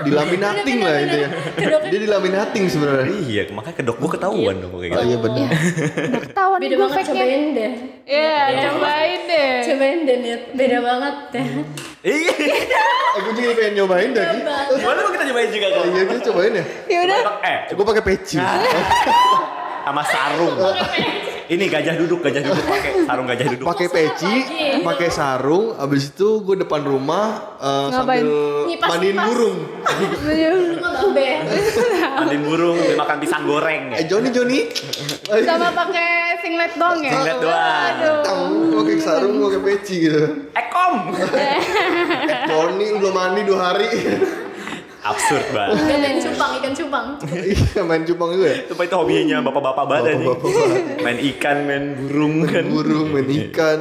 dilaminating lah intinya.
Kedoknya-
Dia dilaminating sebenarnya.
iya, makanya kedok gua ketahuan dong kayak
Oh
gitu.
iya benar.
Udah ketahuan
beda
gue
banget
fake-nya.
cobain deh
Iya, cobain deh.
cobain deh Nit. beda banget deh
Iya.
Eh, gue juga pengen nyobain deh Ki.
Iya,
Boleh dong kita nyobain juga kok.
Iya, gue cobain ya.
Ya udah.
Eh,
Gue pakai peci.
sama sarung. Ini gajah duduk, gajah duduk pakai sarung gajah duduk.
pakai peci, pakai sarung, abis itu gue depan rumah eh,
Ngapain?
sambil
Nyipas-nyipas.
mandiin burung.
Cuma babe
Mandiin burung, dia makan pisang goreng.
Eh Joni Joni, Eh,
Sama pakai singlet dong ya.
Singlet doang.
Aduh.
tahu gue pakai sarung, gue pakai peci gitu.
Ekom.
Eh, Joni lu belum mandi dua hari,
Absurd banget.
ikan cupang ikan cupang
Iya, main cupang itu ya.
Itu itu hobinya bapak-bapak banget nih.
Bapak-bapak banget.
Main ikan, main burung kan.
Burung, main ikan,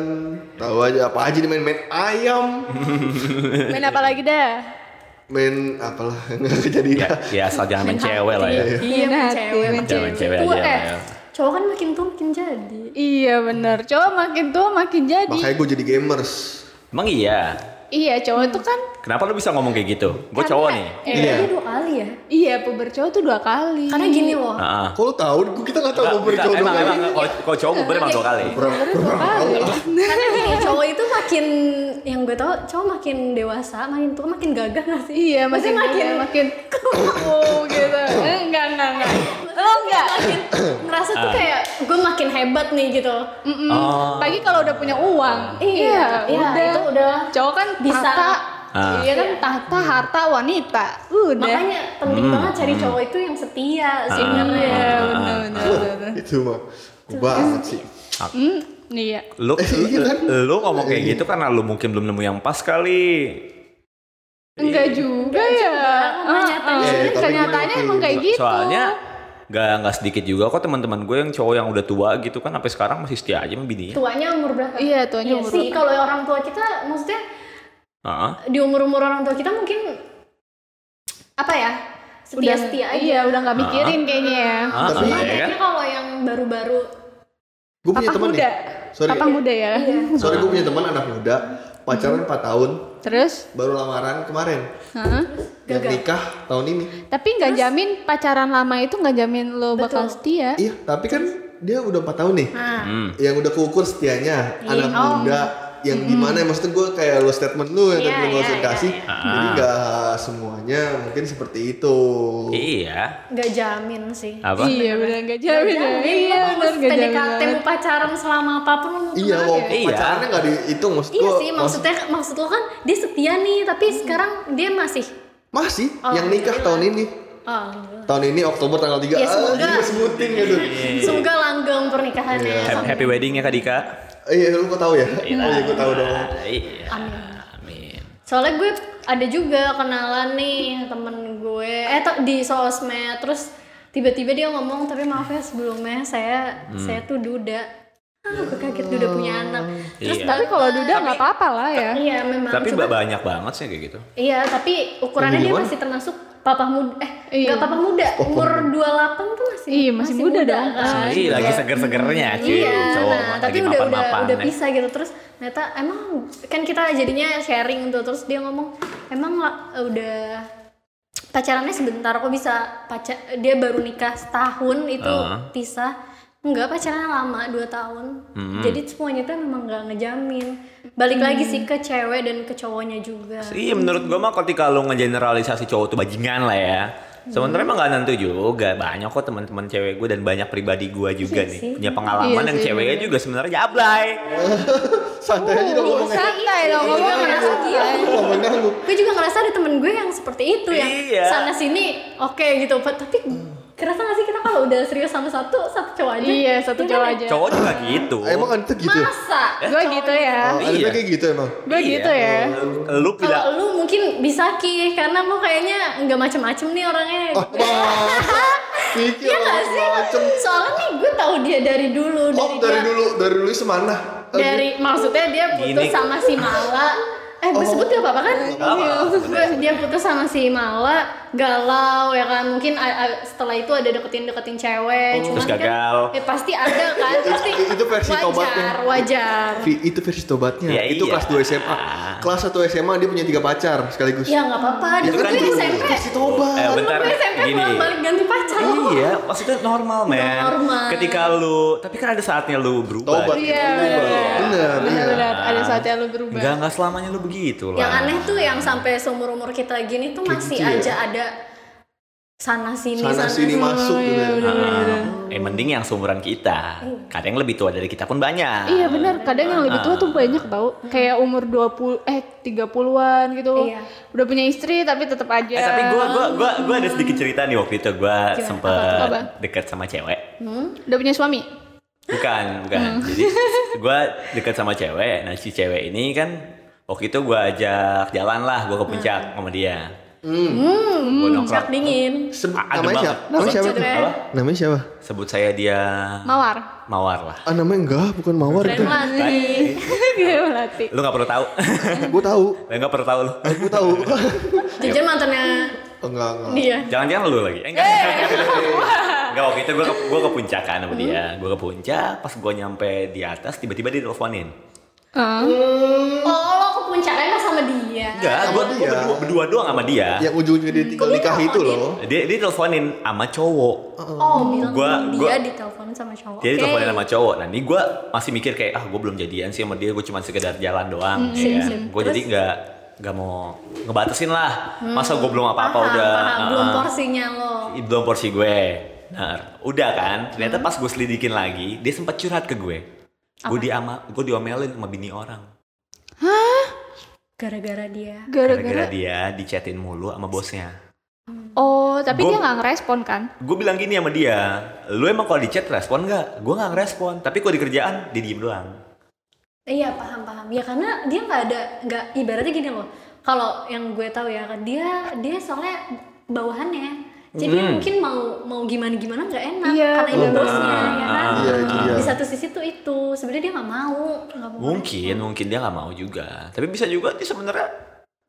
tahu aja apa aja nih main main ayam,
Main apa lagi dah?
main apalah nggak kejadian.
Ya, ya asal jangan main cewek lah ya.
iya
Main
main
hati,
cewek
main
makin
Jangan main cewek aja.
Tua,
lah
eh.
ya.
cowok kan makin tua makin jadi
Iya bener. Cowok makin tua makin jadi.
Makanya gue jadi gamers.
Emang iya.
Iya cowok itu kan.
Kenapa lu bisa ngomong kayak gitu? Gue cowok nih.
eh,
Iya.
dia dua kali ya
Iya puber cowok tuh dua kali.
karena gini loh
Heeh.
Kalau tahu, gua- kita nggak tahu mau berjodoh.
Emang emang kalau kalau cowok puber emang dua kali.
dua kali.
karena gini cowok itu makin yang gue tau cowok makin dewasa makin tua makin gagah gak sih
Iya masih
Maksudnya
makin makin wow gitu. Eh, Enggak enggak enggak. Lo enggak.
makin ngerasa tuh kayak gue makin hebat nih gitu
Mm-mm.
Oh.
Pagi kalau udah punya uang.
Iya, iya, itu udah
Cowok kan
bisa.
tahta.
Ah.
Iya kan tahta harta wanita. Udah.
makanya penting banget cari cowok itu yang setia sih
Iya
karena
Ah.
benar benar. benar.
Itu mah, gue banget sih.
Hmm, iya.
Lu,
Iya kan?
lu, lu ngomong kayak gitu karena lu mungkin belum nemu yang pas kali.
Enggak juga ya.
karena
Ah,
nyatanya-
ah.
Iya, tapi
Kenyataannya
gini,
emang kayak gitu.
Soalnya nggak nggak sedikit juga kok teman-teman gue yang cowok yang udah tua gitu kan sampai sekarang masih setia aja sama bininya.
tuanya umur berapa?
Iya, tuanya
Iya
umur
sih,
berapa?
kalau orang tua kita maksudnya
Heeh.
di umur-umur orang tua kita mungkin apa ya?
udah
Setia-setia aja.
Iya, udah
Ah.
nggak mikirin kayaknya ya.
Heeh,
Tapi-
ya
Kayaknya
kan?
kalau yang baru-baru
Gue punya
Papa
teman
muda.
nih. Sorry,
Papa muda ya.
sorry gue punya teman anak muda, pacaran 4 tahun,
Terus,
baru lamaran kemarin.
Hah?
Dan nikah tahun ini.
tapi nggak jamin pacaran lama itu nggak jamin lo bakal setia.
Iya, tapi kan dia udah 4 tahun nih.
nah,
Hmm.
Yang udah keukur setianya, anak
oh.
muda yang gimana ya, maksudnya gue kayak lo statement lu yang
Hmm. Iya,
tadi gue
iya,
yeah,
iya,
kasih
Ah.
jadi gak semuanya mungkin seperti itu
Iya.
nggak jamin sih.
Apa?
Iya, benar nggak jamin. ya. Iya,
Iya,
benar nggak jamin.
PDKT
banget.
mau pacaran selama apapun lu
iya
kenal
wong
ya?
Iya.
pacarannya gak dihitung maksud
Iya
gue
sih, maksudnya maksud Hmm. lo kan dia setia nih, tapi sekarang dia masih
masih yang nikah tahun ini
oh,
tahun ini Oktober tanggal 3
Ya, semoga.
jadi gue sebutin gitu
Iya.
semoga langgeng pernikahannya.
Happy, happy wedding ya Kak Dika.
iya lu kok tahu ya oh iya gue tahu dong
Iya.
Amin.
Amin.
Soalnya gue ada juga kenalan nih temen gue eh to- di sosmed terus tiba-tiba dia ngomong tapi maaf ya sebelumnya saya saya tuh duda. Ah, gue kaget duda punya anak. Terus
Iya.
Tapi kalau duda nggak apa-apa lah ya.
Iya memang.
Tapi
Cuma-
banyak banget sih kayak gitu.
iya tapi ukurannya dia
Gimana?
masih termasuk papa muda eh
Iya.
nggak papa muda umur 28 tuh masih
Iya, masih muda dong.
kan?
Ih, lagi seger-segernya Ya, cuy.
Iya,
cowok
nah,
lagi
tapi udah udah
mapan-mapan.
udah pisah gitu terus ternyata emang kan kita jadinya sharing tuh terus dia ngomong emang lah, udah pacarannya sebentar kok bisa pacar dia baru nikah setahun itu
Ah.
pisah Enggak pacaran lama 2 tahun. Jadi semuanya tuh memang nggak ngejamin. Balik lagi sih ke cewek dan ke cowoknya juga.
Iya menurut gua mah ketika lu ngegeneralisasi cowok tuh bajingan lah ya. Sementara emang gak nentu juga, banyak kok teman-teman cewek gue dan banyak pribadi gue juga
Iya
nih
sih.
punya pengalaman
Iya
yang
sih,
ceweknya juga sebenarnya jablay.
Santai
iya,
aja dong ngomongnya. ya?
Santai dong,
Gue juga
ngomong
ngerasa gitu.
Ngomongnya lu.
Gue juga ngerasa ada temen gue yang seperti itu yang
Iya.
sana sini oke gitu, tapi kerasa gak sih kita kalau udah serius sama satu satu cowok aja?
Iya, satu
Iya
cowok
kan?
aja.
Cowok juga gitu.
Emang Anita gitu. ya?
Masa?
Gue gitu
Oh,
ya.
Anita
Iya.
kayak gitu emang.
Gue
Iya.
gitu ya.
Lu
Kalau
bilang
lu mungkin bisa ki, karena lu kayaknya nggak macem-macem nih orangnya.
Ah, wah. Mikir
Iya nggak sih?
macam-macam.
Soalnya nih gue tahu dia dari dulu,
Oh,
dari,
dari
dia-
dulu, dari dulu semana. Eh,
dari maksudnya dia putus
Gini.
sama si Mala. Eh, gue sebut gak apa-apa kan? Gue dia putus sama si Mala, galau ya kan. Mungkin a- a- setelah itu ada deketin-deketin cewek, cuman
Terus gagal.
kan eh, pasti ada kan. Pasti
Itu- itu versi
wajar,
tobatnya.
wajar.
Eh, Vi, itu versi tobatnya.
Ya,
itu
iya.
kelas 2 SMA. Kelas 1 SMA dia punya tiga pacar sekaligus. Iya
Ya nggak apa-apa,
Itu
dulu
kan
gue
dulu.
SMP.
Versi tobat.
Eh,
Dulu
bentar,
gue SMP
gini.
bolak-balik ganti pacar.
Iya, maksudnya normal, men.
Normal.
Ketika lu, tapi kan ada saatnya lu berubah.
Tobat.
Iya,
Bener,
benar.
bener.
Benar, ada saatnya lu
Enggak,
berubah.
enggak selamanya lu begitu lah.
Yang aneh tuh yang sampai seumur umur kita gini tuh
Kayak
masih
gitu ya.
aja ada sana sini
Sana sini masuk
iya,
gitu. ya.
Ah, eh mending yang seumuran kita. Kadang lebih tua dari kita pun banyak.
Iya benar,
Kan?
kadang yang lebih tua tuh
Ah.
banyak tau Kayak umur 20 eh 30-an gitu.
Hmm. Iya.
Udah punya istri tapi tetap aja.
Eh, tapi gua gua gua gua ada sedikit cerita nih waktu itu gua
Apa tuh, apa?
sempet dekat sama cewek.
Hmm? Udah punya suami.
Bukan, bukan. Jadi gua dekat sama cewek. Nah, si cewek ini kan waktu itu gua ajak jalan lah, gua ke puncak sama dia. Gua nongkrong.
Cak dingin.
Se-
Ah, adem
Hmm. namanya siapa?
banget.
Namanya siapa?
Cewek.
Apa?
Namanya siapa?
Sebut saya dia
Mawar.
Mawar lah.
Ah, namanya enggak, bukan Mawar
Keren
itu.
mati.
Gue melatih.
Lu nggak perlu tahu.
ya.
Gue tahu.
Lu nggak perlu tahu lu.
Gue tahu. Oh,
Jajan mantannya
enggak, enggak.
dia.
Jangan-jangan lu lagi. Eh, enggak. Enggak waktu itu gue ke, gue ke puncak kan sama dia. Gue ke puncak, pas gue nyampe di atas tiba-tiba dia teleponin.
Heeh.
Oh lo ke puncaknya nggak sama dia.
Enggak,
Sama
gue
dia.
berdua, berdua doang sama dia.
Yang ujungnya dia tinggal
Kok dia
nikah itu
teleponin?
loh.
Dia dia teleponin sama cowok.
Oh bilang
Hmm. Gua-
dia
gua-
ditelepon sama cowok.
Dia
Oke.
diteleponin sama cowok. Nah, ini gue masih mikir kayak ah gue belum jadian sih sama dia, gue cuma sekedar jalan doang ya
sip,
kan.
sip.
Gue jadi nggak nggak mau ngebatasin lah. Masa gue belum apa-apa
Hmm. Paham,
udah
paham. Belum
ah,
porsinya lo.
belum porsi gue. Nah, udah kan. Ternyata
Hmm.
pas gue selidikin lagi, dia sempat curhat ke gue. Gue diama, gue diomelin sama bini orang.
Gara-gara dia.
Gara-gara
Gara-gara
dia dicatin mulu sama bosnya.
Oh, tapi
Gua-
dia nggak ngerespon kan?
Gue bilang gini sama dia, lu emang kalau di chat respon nggak? Gue nggak ngerespon, tapi kalau di kerjaan dia diem doang.
Iya paham paham. Ya karena dia nggak ada nggak ibaratnya gini loh. Kalau yang gue tahu ya dia dia soalnya bawahannya. Jadi
Hmm.
mungkin mau mau gimana gimana nggak enak
Iya,
karena ini
bener.
bosnya ya kan.
Ah,
iya, itu dia.
Di satu sisi tuh itu sebenarnya dia nggak mau nggak mau.
Mungkin, mungkin dia nggak mau juga. Tapi bisa juga dia sebenarnya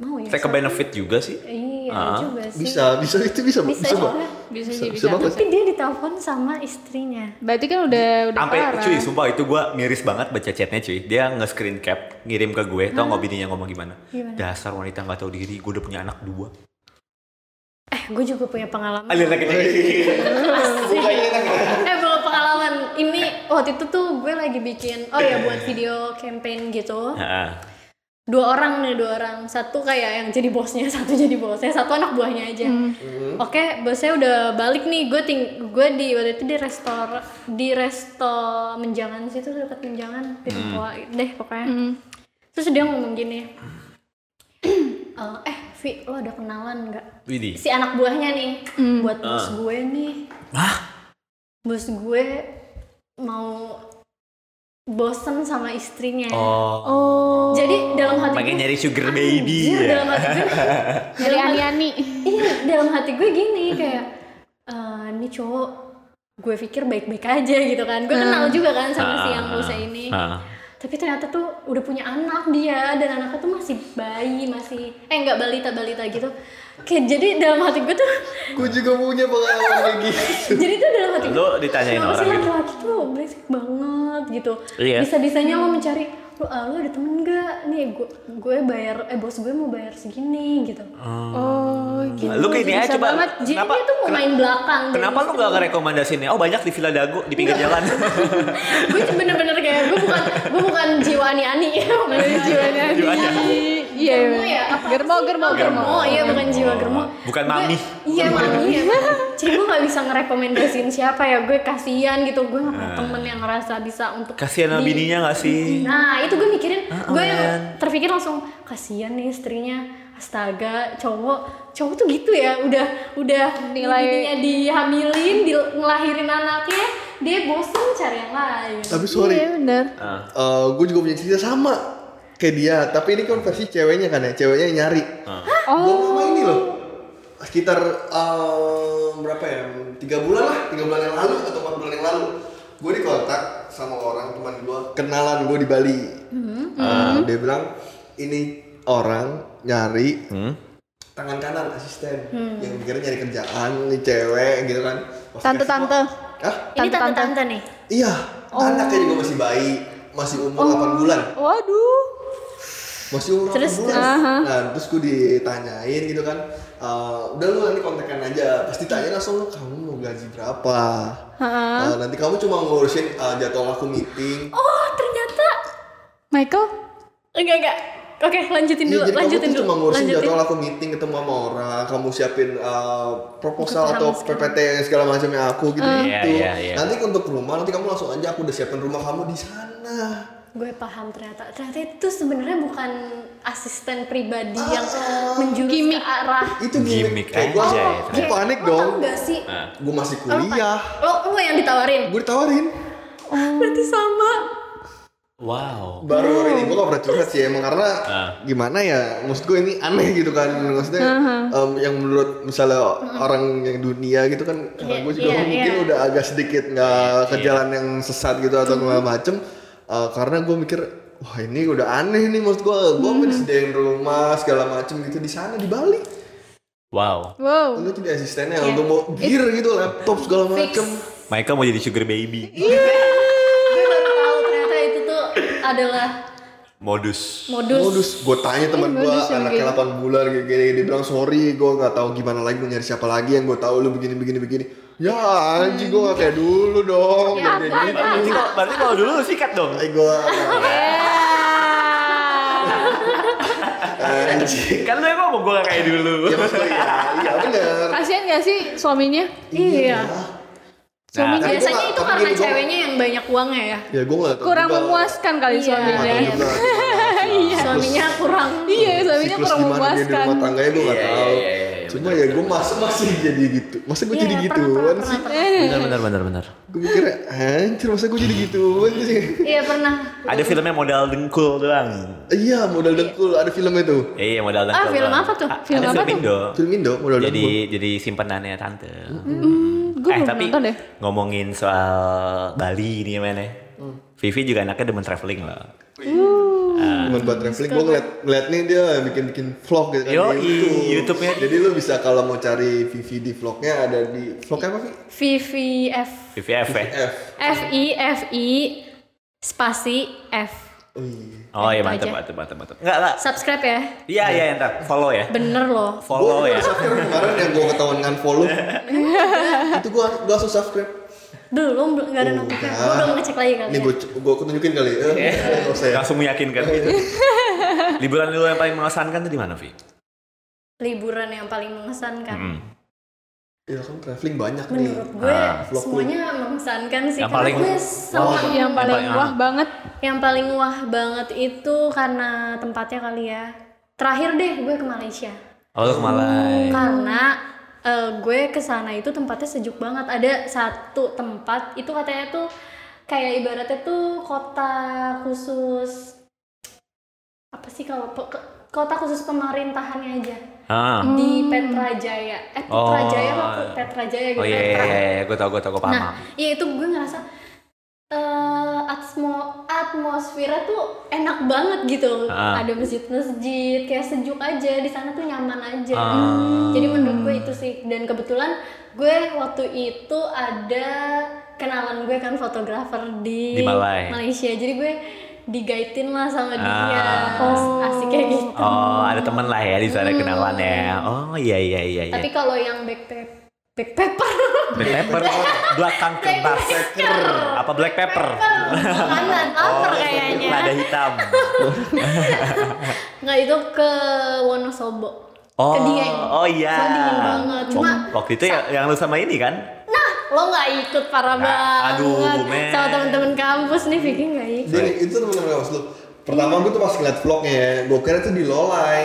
Mau ya.
take a
satu.
benefit juga sih.
Iya
Ah.
juga sih.
Bisa, bisa itu bisa,
Bisa,
bisa, Mbak.
juga.
Bisa
Bisa-
sih
bisa
bisa.
banget.
Tapi dia ditelepon sama istrinya.
Berarti kan udah udah kan?
Sampai
parah.
cuy, sumpah itu gue miris banget baca chatnya cuy. Dia nge-screen cap, ngirim ke gue, tau nggak bininya ngomong gimana?
Gimana?
Dasar wanita nggak tahu diri, gue udah punya anak dua.
Eh, gue juga punya pengalaman.
Alin lagi
Asik. eh belum pengalaman ini waktu itu tuh gue lagi bikin oh ya buat video campaign gitu
ah.
dua orang nih dua orang satu kayak yang jadi bosnya satu jadi bosnya satu anak buahnya aja oke bosnya udah balik nih gue ting gue di waktu itu di restor di resto menjangan situ dekat menjangan Pirangkoa deh pokoknya terus dia ngomong gini "Eh, eh Vi lo ada kenalan nggak
Widih.
si anak buahnya nih buat
Ah.
bos gue nih
Hah?
bos gue mau bosen sama istrinya
Oh,
Oh,
jadi dalam hati
pengen
gue
nyari sugar baby
Anjir,
ya.
dalam hati gue
dari ani-ani.
iya dalam hati gue gini kayak "Eh, ini cowok gue pikir baik-baik aja gitu kan gue kenal juga kan sama si yang bosnya ini
Ah.
tapi ternyata tuh udah punya anak dia dan anaknya tuh masih bayi masih eh nggak balita balita gitu kayak jadi dalam hati gue tuh
Gue juga punya pengalaman kayak gitu.
jadi tuh dalam hati
Lu ditanyain
kenapa
orang
sih
gitu.
laki-laki tuh berisik banget gitu
Iya.
bisa bisanya lo mencari lo ah, lo ada temen gak nih gue gue bayar eh bos gue mau bayar segini gitu
Oh, gitu.
Hmm. Lu kayak ini
Bisa
aja coba.
banget.
jadi
Kenapa-
dia tuh mau
kena-
main belakang gitu. dari
Kenapa lu gak ngerekomendasiinnya? Oh banyak di Villa Dago di
Iya.
pinggir jalan.
gue bener-bener kayak gue bukan gue bukan jiwa ani-ani bukan
Iya.
jiwanya
Jiwanya.
Iya.
Germo ya? Apa
Germo,
sih?
germo, germo.
Oh, germo. iya bukan jiwa germo.
Oh, Bukan
Gue-
mami.
Iya mami. ya. Jadi gue nggak bisa ngerekomendasiin siapa ya. Gue kasihan gitu. Gue nggak punya temen yang ngerasa bisa untuk.
Ah. Kasihan sama
di-
bininya gak
Iya.
sih?
Nah itu gue mikirin.
Ah,
gue
man.
terpikir langsung kasihan nih istrinya. Astaga, cowok cowok tuh gitu ya. Udah udah
Nilai-
bininya dihamilin, di, ngelahirin anaknya. Dia bosen cari yang lain.
Tapi sorry,
Iya, benar.
Ah.
eh, gue juga punya cerita sama kayak dia. Tapi ini kan versi ceweknya kan ya, ceweknya yang nyari.
Ah.
Gue sama ini
Oh.
loh. Sekitar eh, berapa ya? Tiga bulan lah, tiga bulan yang lalu atau empat bulan yang lalu. Gue dikontak sama orang teman gue, kenalan gue di Bali.
Mm-hmm.
Eh, dia bilang ini orang nyari
Hmm?
tangan kanan asisten
Hmm.
yang mikirnya nyari kerjaan nih cewek gitu kan Pas
Tante-tante.
dikasih- Hah?
Ini
Tante-tante.
tante-tante nih.
iya
Oh.
anaknya juga masih bayi masih umur 8 bulan
Waduh.
masih umur
Terus-
8 bulan nah terus gue ditanyain gitu kan "Eh, udah lu nanti kontekan aja pasti tanya langsung lu kamu mau gaji berapa Eh, nanti kamu cuma ngurusin eh, jadwal aku meeting
Oh ternyata
Michael.
Enggak, enggak. Oke, lanjutin
Iya,
dulu,
jadi kamu
lanjutin
tuh
dulu.
cuma ngurusin
lanjutin.
jadwal aku meeting ketemu sama orang, kamu siapin uh, proposal
Aku paham
atau
sekarang.
PPT yang segala macamnya aku gitu gitu.
Iya, iya, iya.
Nanti untuk rumah nanti kamu langsung aja aku udah siapin rumah kamu di sana.
Gue paham ternyata. Ternyata itu sebenarnya bukan asisten pribadi
Ah,
yang menjurus
gimmick.
ke arah
Itu gimmick.
Gimmick
Kayak gua,
aja ya,
gua
ternyata.
Iya, panik
Lo
dong. Nah.
Tau gak sih?
Ah.
Gua masih
Lo pa-
kuliah,
Lo, lo yang ditawarin.
gue ditawarin.
Berarti sama.
Wow.
Baru
Oh.
hari ini gue gak pernah curhat sih emang karena
Ah.
gimana ya maksud gue ini aneh gitu kan maksudnya em, yang menurut misalnya orang yang dunia gitu kan karena gue juga
Iya,
mungkin
iya.
udah agak sedikit nggak ke jalan yang sesat gitu atau segala macem Eh, karena gue mikir wah ini udah aneh nih maksud gue gue pengen
Hmm.
disediain rumah segala macem gitu di sana di Bali
Wow.
Wow.
Oh.
lu jadi asistennya
Iya.
untuk mau gear gitu laptop segala macem
Michael mau jadi sugar baby.
Gue baru tahu ternyata itu tuh adalah
Modus.
modus.
modus gue tanya teman
Eh,
gue
modus yang
anaknya 8 bulan kayak gini dia bilang sorry gue nggak tahu gimana lagi mau nyari siapa lagi yang gue tahu lu begini begini begini ya anjing gue gak kayak dulu dong
Ya,
Kayak
apaan?
gitu.
Berarti kalau- Berarti kalau dulu lu sikat dong.
eh gue
Yeah.
anjing
Kan lu yang ngomong gue gak kayak dulu.
ya maksud gue ya iya bener
Kasihan gak sih suaminya?
Iya.
Nah,
Suaminya
tapi-
Biasanya
gua-
itu
tapi
karena
gua-
ceweknya yang banyak uangnya ya.
ya gue gak tahu
kurang
juga.
memuaskan kali
Iya.
Nggak tahu
suaminya.
Iya.
juga gimana.
Suaminya kurang.
Iya, suaminya
siklus
kurang
gimana dia di
memuaskan.
rumah tangganya gue
Iya,
gak
iya,
tahu
iya, iya, iya,
cuma
bener,
ya gue masih masih jadi gitu masa gue
Iya,
jadi
pernah,
gituan
pernah,
sih
pernah, pernah.
Bener bener bener bener.
gue mikir anjir masa gue jadi gituan sih
Iya pernah.
Ada filmnya modal dengkul doang.
iya modal dengkul ada film itu
Iya modal dengkul.
Ah, film
doang.
apa tuh?
A-
Film
ada
apa tuh?
Indo.
film Indo modal dengkul
Jadi jadi simpenannya tante.
gue
eh
belum
tapi
nonton deh.
ngomongin soal Bali ini mana? Hmm. Vivi juga anaknya demen traveling loh.
Cuman buat traveling, gue ngeliat, ngeliat nih dia bikin-bikin vlog gitu kan
Yo,
di
i- YouTube-nya.
Jadi lu bisa kalau mau cari Vivi di vlognya ada di vlog apa sih?
VVF.
Vivi F ya?
F.
F I F I spasi F.
Oh iya.
Oh iya
Itu
mantep
aja.
mantep mantep mantep. Enggak lah.
Subscribe ya.
Iya iya entar follow ya.
Bener loh.
Follow
Gua
ya.
subscribe kemarin yang gue ketahuan ngan follow. itu gue gua langsung subscribe.
Belum belum- nggak ada notifnya. Gue belum ngecek lagi kali.
Nih
ya.
gue gue tunjukin kali. Eh, nggak usah ya.
Langsung meyakinkan gitu. Liburan lu yang paling mengesankan tuh di mana, Vi?
Liburan yang paling mengesankan.
Mm.
Iya kan traveling banyak nih.
Menurut gue
Ah,
vlog
semuanya mengesankan sih.
Yang
Karena
paling-
gue seneng.
Yang paling
paling-
wah banget.
Yang paling wah banget itu karena tempatnya kali ya. Terakhir deh gue ke Malaysia.
Oh, lu ke Malai.
Karena eh, gue ke sana itu tempatnya sejuk banget. Ada satu tempat itu katanya tuh kayak ibaratnya tuh kota khusus apa sih kalau pe- ke- kota khusus pemerintahannya aja
Ah.
di Petrajaya. Eh
Oh.
Petrajaya apa Petrajaya gitu.
Oh iya iya
Petra- ya
iya, gue tau gue tau gue paham.
Nah, iya itu gue ngerasa eh atmo at atmosfernya tuh enak banget gitu
Ah.
ada masjid-masjid kayak sejuk aja di sana tuh nyaman aja
Ah.
jadi menurut gue itu sih dan kebetulan gue waktu itu ada kenalan gue kan fotografer
Di
di,
Malai.
Malaysia jadi gue digaitin lah sama dia
Ah.
asik kayak gitu
Oh, ada teman lah ya di sana kenalan ya. Oh iya iya iya. iya.
Hmm. tapi kalau yang backpack backpacker
black pepper, belakang kembar, apa black pepper? Oh.
makanan lapar kayaknya
lada hitam.
Nggak itu ke Wonosobo.
Oh,
ke Dieng.
oh iya.
Soalnya dingin banget. Cuma
Wak- waktu itu ya, yang lu sama ini kan?
nah lo nggak ikut parah
Nah,
banget.
aduh, men.
Sama temen-temen kampus nih Vicky nggak ikut.
Jadi itu temen-temen kampus lu. Pertama gue tuh pas ngeliat vlognya ya, gue kira itu di Lolai.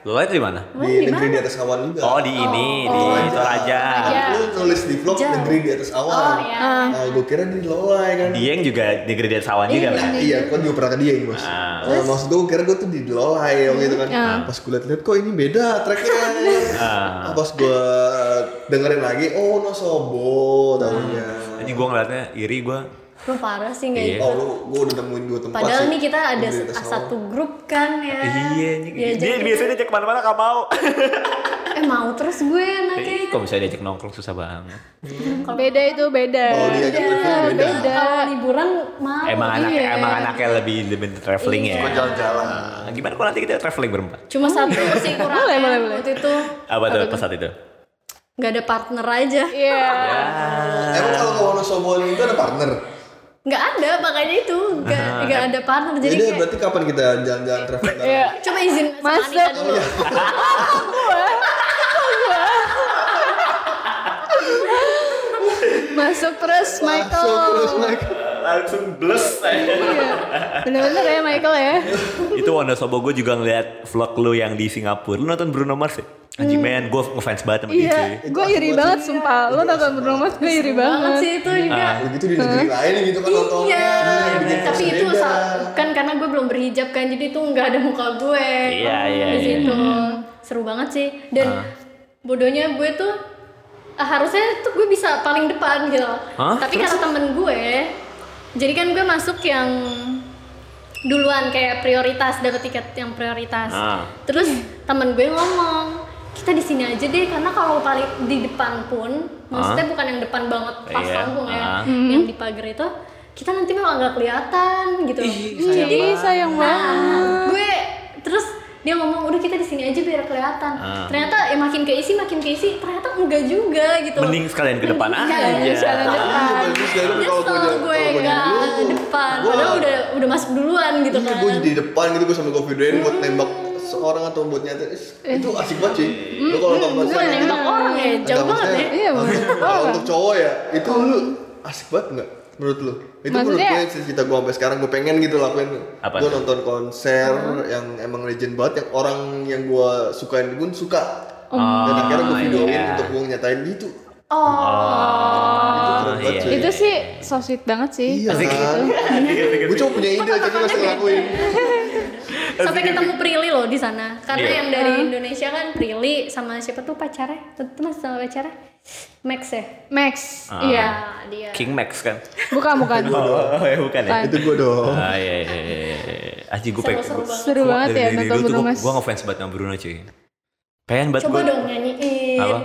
Lu itu di mana?
Emang
Di
di
negeri
mana?
di atas awan juga.
Oh di ini
Oh,
di
Toraja.
Toraja.
Toraja.
Lu nulis di vlog
Jauh.
negeri di atas awan.
Oh iya.
Nah, gue kira di Lolai kan.
Dieng juga negeri di sawan juga
Nah,
kan?
iya, gue juga pernah ke dia bos.
Ah.
Eh, maksud gue kira gue tuh di Lolai yang gitu kan.
Iya.
Ah.
Pas gue liat-liat kok ini beda tracknya. Nah,
Ah.
Pas gue dengerin lagi, oh Nosobo tahunya.
Ini gua ngeliatnya iri gua.
Lo parah sih nggak
Iya.
ikut.
Oh lu, gue udah nemuin dua tempat
Ah. Padahal
sih.
nih kita ada
Negeri di atas awan.
satu grup kan
Iya,
ya. Ya,
ini- dia
jadi-
biasanya diajak kemana-mana gak mau.
Eh mau terus gue
Ih,
anaknya.
Kok bisa diajak nongkrong susah banget.
Beda itu beda. Iya,
Kalau diajak traveling beda.
beda.
Kalau liburan mau.
Iya, Emang anak
iya.
emang anaknya lebih lebih traveling ya.
Gua jalan-jalan.
Nah, Gimana kalau nanti kita traveling berempat?
Cuma satu
Hmm.
sih kurang ya
Boleh, boleh, boleh.
waktu itu
Apa tuh pas saat itu?
nggak ada partner aja.
Iya.
Ah,
Emang kalau ke Wonosobo itu ada partner?
Nggak ada makanya itu nggak nggak ada partner jadi
Jadi
kayak
berarti kapan kita jalan-jalan traveling bareng?
Iya.
coba izin sama
Masuk.
Anita dulu.
Masuk terus Michael.
Masuk terus naik.
Langsung blus. eh.
Iya. Bener-bener ya Michael ya.
itu Wonosobo gue juga ngeliat vlog lu yang di Singapura. Lu nonton Bruno Mars ya? Anjing men, gue ngefans banget sama dia
Hmm. Iya,
cuy.
gue iri banget sumpah.
Iya.
Lo nonton Bruno Mars gue iri
banget
banget.
sih itu
Iya.
juga.
Begitu di negeri lain gitu kan nontonnya.
Iya,
bikin
tapi itu
beda.
sa- kan karena gue belum berhijab kan, jadi itu nggak ada muka gue.
Iya, iya,
Di
iya.
situ seru banget sih. Dan bodohnya gue tuh ah, harusnya tuh gue bisa paling depan gitu.
Hah?
Tapi karena temen gue, jadi kan gue masuk yang duluan kayak prioritas dapat tiket yang prioritas.
Ah.
Terus temen gue ngomong kita di sini aja deh karena kalau paling di depan pun maksudnya bukan yang depan banget pas
Iya,
panggung ya
ah.
Hmm.
yang di pagar itu kita nanti memang nggak kelihatan gitu jadi
Jadi sayang banget.
nah, gue terus dia ngomong udah kita di sini aja biar kelihatan
Ah.
ternyata ya makin keisi makin keisi ternyata enggak juga gitu
Mending sekalian ke depan
Mending
aja.
sekalian
Jalan
Iya,
depan.
bagus dari kalau gue
Ah, Nyesel gue nggak depan padahal udah udah masuk duluan gitu
Iya,
kan
gue di depan gitu gue sambil gue videoin buat nembak seorang atau buat nyata itu asik banget sih. Lu kalau nonton konser
gue
gitu,
Eh. nembak orang ya jauh
nggak,
banget ya
maksudnya,
Iya, bener.
Kalau untuk cowok ya itu lu asik banget nggak menurut lu? Itu
Maksudnya-
menurut gue cita-cita gue sampai sekarang gue pengen gitu lakuin.
Apa
Gue
tuh?
nonton konser yang emang legend banget yang orang yang gue sukain pun suka. Dan akhirnya gue videoin
iya.
untuk gue nyatain gitu.
oh
Itu keren banget
iya.
sih.
Itu sih so sweet banget sih. gitu.
Iya kan.
gitu.
Gue cuma punya ide tapi masih ngelakuin.
Iya.
sampai ketemu Prilly loh di sana karena
Iya.
yang dari Indonesia kan Prilly sama siapa tuh pacarnya itu masih sama pacarnya Max ya
Max,
Ah.
iya.
Nah, dia
King Max kan?
Bukan bukan.
Oh, ya bukan ya?
Itu gue dong.
Ah iya iya iya, iya. Aji gue pengen.
Seru-seru banget.
Seru banget ya nonton Bruno Mars.
Gue ngefans banget sama Bruno cuy. Pengen banget
coba
gue.
dong nyanyiin
Apa?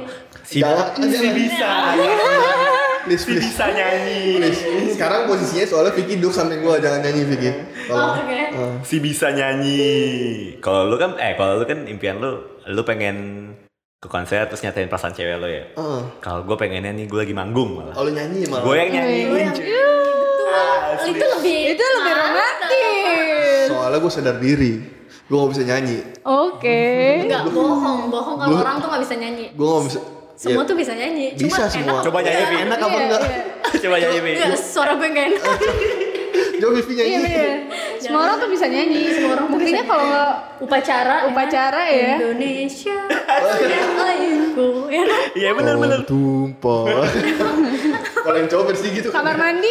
Si
Jangan, jangan.
bisa.
Please,
Si
please,
bisa nyanyi.
please. Sekarang posisinya soalnya Vicky duduk samping gue, jangan nyanyi Vicky.
oh,
Tolong.
oke
Eh,
Si bisa nyanyi. Kalau lu kan eh kalau lu kan impian lu lu pengen ke konser terus nyatain perasaan cewek lu ya.
eh.
Kalau gue pengennya nih gue lagi manggung malah.
Oh, lu nyanyi malah.
Gue yang
Lu
nyanyiin
yang-
cuy.
Betul. itu lebih
Itu lebih romantis.
Soalnya gue sadar diri, gue gak bisa nyanyi.
Oke.
nggak bohong bohong kalau orang tuh nggak bisa nyanyi
Gue gak bisa.
semua
Iya.
ya,
tuh bisa nyanyi
bisa
Cuma
semua.
enak Iya,
Coba nyanyi, Vi.
Enak apa enggak?
Coba nyanyi Mi.
Nggak, suara gue nggak enak
Coba Vicky
Iya
nyanyi.
bener. Semua orang tuh bisa nyanyi. Semua orang Buktinya kalau
upacara ya.
Upacara ya.
Indonesia sudah lainku ya kan?
Iya benar benar.
Oh, tumpah. Kalau yang cowok versi gitu.
kamar mandi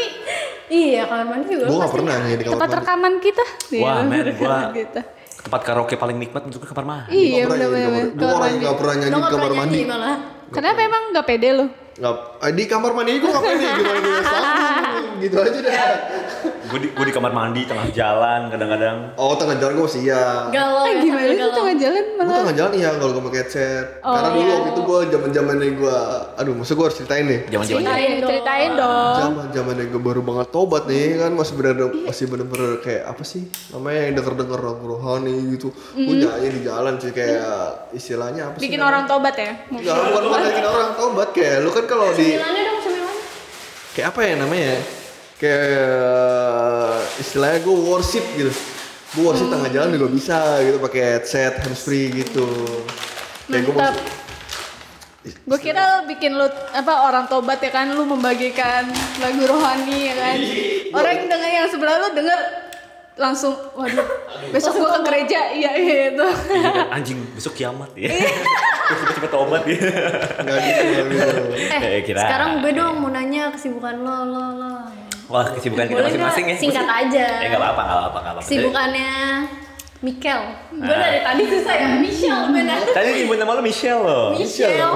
iya kamar mandi juga
Gue gak
pasti iya,
pernah nyanyi di kamar
tempat
mandi.
rekaman kita.
Wah, men,
tempat
gua-
rekaman kita.
Tempat karaoke paling nikmat untuk kamar mandi.
Iya
Gua nggak pernah nyanyi di
bener-bener.
kamar- Gua orang yang gak pernah
Lo
nyanyi di
nggak
kamar
pernah
mandi.
nyanyi malah
Kenapa emang nggak pede lo?
Nggak- eh, di kamar mandi gue ngapain nih? Gimana gue sama? Gitu aja deh.
gue di, gua di kamar mandi tengah jalan kadang-kadang
Oh tengah jalan gue masih iya.
galau
Eh,
ya
gimana
sambil
sih
galau.
tengah jalan
Gue
malah
tengah jalan iya kalau gue pakai headset.
Oh,
Karena dulu
iya.
waktu itu gue zaman zamannya gue, aduh masa gue harus ceritain nih.
jaman-jaman
Ceritain
ceritain,
dong.
Iya, ceritain dong.
Zaman zamannya gue baru banget tobat
Hmm.
nih kan masih bener
Iya.
masih bener-bener kayak apa sih namanya yang denger denger rohani gitu. Gue nyanyi di jalan sih kayak istilahnya apa
Hmm.
sih?
Bikin orang tobat ya.
Gak, bukan bukan bikin orang tobat kayak lu kan kalau di
Cemilannya dong cemilan.
kayak apa ya namanya ya? kayak istilahnya gue worship gitu gue
Hmm.
worship tengah jalan juga bisa gitu pakai headset handsfree gitu kayak gue
Mantap. Gue kira lu bikin lu apa orang tobat ya kan lu membagikan lagu rohani ya kan.
Iya.
Orang yang denger yang sebelah lu denger langsung waduh besok gua ke gereja iya gitu.
Iya kan, anjing besok kiamat ya cepet-cepet obat ya
nggak gitu, nggak gitu.
Kayak
Eh,
kira- Iya.
sekarang gue dong mau nanya kesibukan lo, lo, lo.
wah kesibukan kita
Boleh
masing-masing ya
nggak? Singkat aja.
ya nggak apa-apa nggak apa-apa nggak apa-apa
Kesibukannya Mikel.
Ah.
Gue dari tadi susah ya. Michelle benar.
tadi nyebut nama lo Michelle loh
Michelle.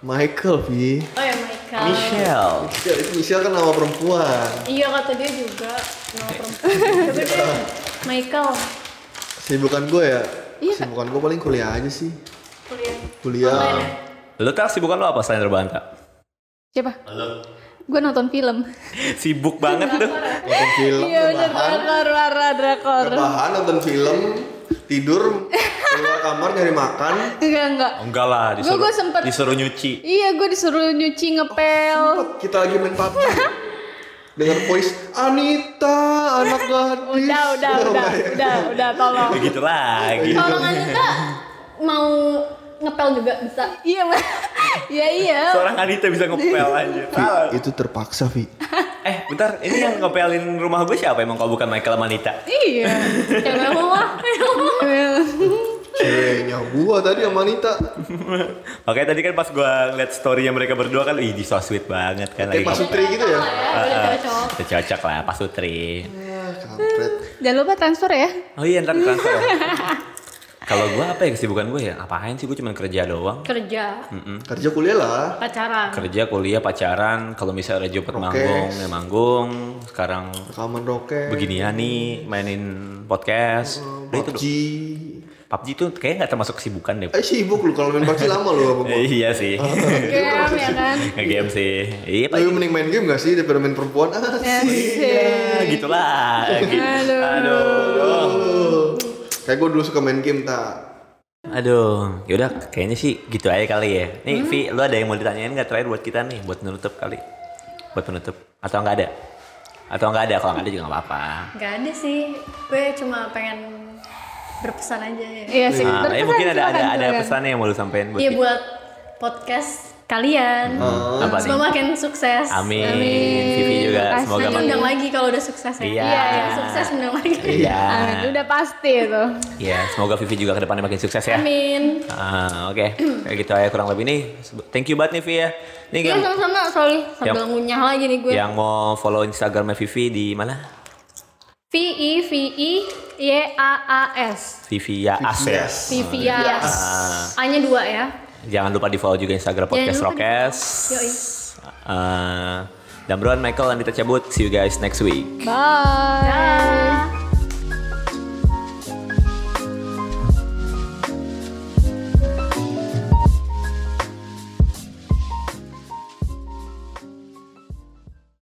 Michael Vi
Oh ya Michael.
Michelle
ya, itu Michelle kan nama perempuan
Iya kata dia juga
Eh.
nama perempuan. Tapi dia Michael
sibukan gue ya
Iya, Kak.
sibukan gue paling kuliah aja sih
kuliah. Online
kuliah
lo tau sibukan lo apa selain rebahan tak
Siapa? Gue nonton film.
sibuk banget tuh
nonton film
Iya udah
rebahan
drakor warna drakor.
rebahan nonton film tidur keluar kamar nyari makan
Enggak enggak.
enggak lah disuruh
Gua- gua sempet-
disuruh nyuci
Iya gue disuruh nyuci ngepel.
Sempet kita lagi main PUBG dengan voice Anita anak gadis
Udah udah
Oh
udah
my God.
udah udah tolong.
begitu lagi
Kalau Anita mau ngepel juga bisa.
Iya Ma. Iya iya.
seorang Anita bisa ngepel aja
Vi,
Salah.
itu terpaksa Vi
eh bentar ini yang ngepelin rumah gue siapa emang kalau bukan Michael sama Anita
Iya.
Cewek mewah.
ceweknya gua tadi sama Anita
Makanya tadi kan pas gue ngeliat story-nya mereka berdua kan, ih di so sweet banget kan
kayak Pak
lagi.
Sutri gitu ya
Iya.
Boleh cocok.
Udah cocok lah, Pak Sutri.
Ah, kampret
Jangan lupa transfer ya.
Oh iya ntar transfer. Kalau gue apa ya kesibukan gue ya? Apain sih gue cuma kerja doang.
Kerja,
kerja kuliah lah
pacaran.
Kerja, kuliah, pacaran. Kalau misalnya ada Jumat
Oke.
manggung, ya manggung. Sekarang
rekaman roket
beginian nih mainin podcast. Udah itu
PUBG
dong. PUBG tuh kayaknya nggak termasuk kesibukan deh.
eh sibuk lu kalau main PUBG lama lu apa gua
Eh, iya sih.
Game ya kan.
Nge-game sih. Iya Pak.
lu mending main game gak sih daripada main perempuan ah
Ya,
Asik.
gitulah. Gitu.
Aduh.
Aduh.
gitu. kayak gua dulu suka main game tak
Aduh, yaudah kayaknya sih gitu aja kali ya.
Hmm.
Nih Vi, lu ada yang mau ditanyain nggak terakhir buat kita nih, buat penutup kali, buat penutup atau nggak ada? Atau nggak ada? Kalau nggak ada juga nggak apa-apa.
Gak ada sih. Gue cuma pengen berpesan aja ya.
Iya sih. kan,
Nah, eh,
Berpesan,
mungkin ada ada
silakan,
ada
silakan.
pesannya yang mau lu sampein buat
Iya
Vi.
buat podcast kalian.
Ah.
apa nih?
Semoga makin sukses.
Amin.
Amin.
Vivi juga
Makasih.
semoga
Nanti
makin.
undang lagi kalau udah sukses ya.
Iya.
Yang Sukses undang lagi.
Iya.
Amin. Ah, Udah pasti itu.
Iya, semoga Vivi juga kedepannya makin sukses ya.
Amin.
Ah, Oke, kayak gitu aja kurang lebih nih. Thank you banget nih Vi ya. Nih
Iya
yang,
sama-sama sorry sambil
Yang-
ngunyah lagi nih gue.
yang mau follow Instagramnya Vivi di mana?
V I V I Y A A S.
Vivi ya Ases.
Iya.
Vivias.
Iya.
A-nya dua ya.
Jangan lupa di follow juga Instagram podcast Rokes.
lupa
Ah,
di- Yoi.
Uh, dan Brown Michael Andita cabut. See you guys next week.
Bye.
Dah.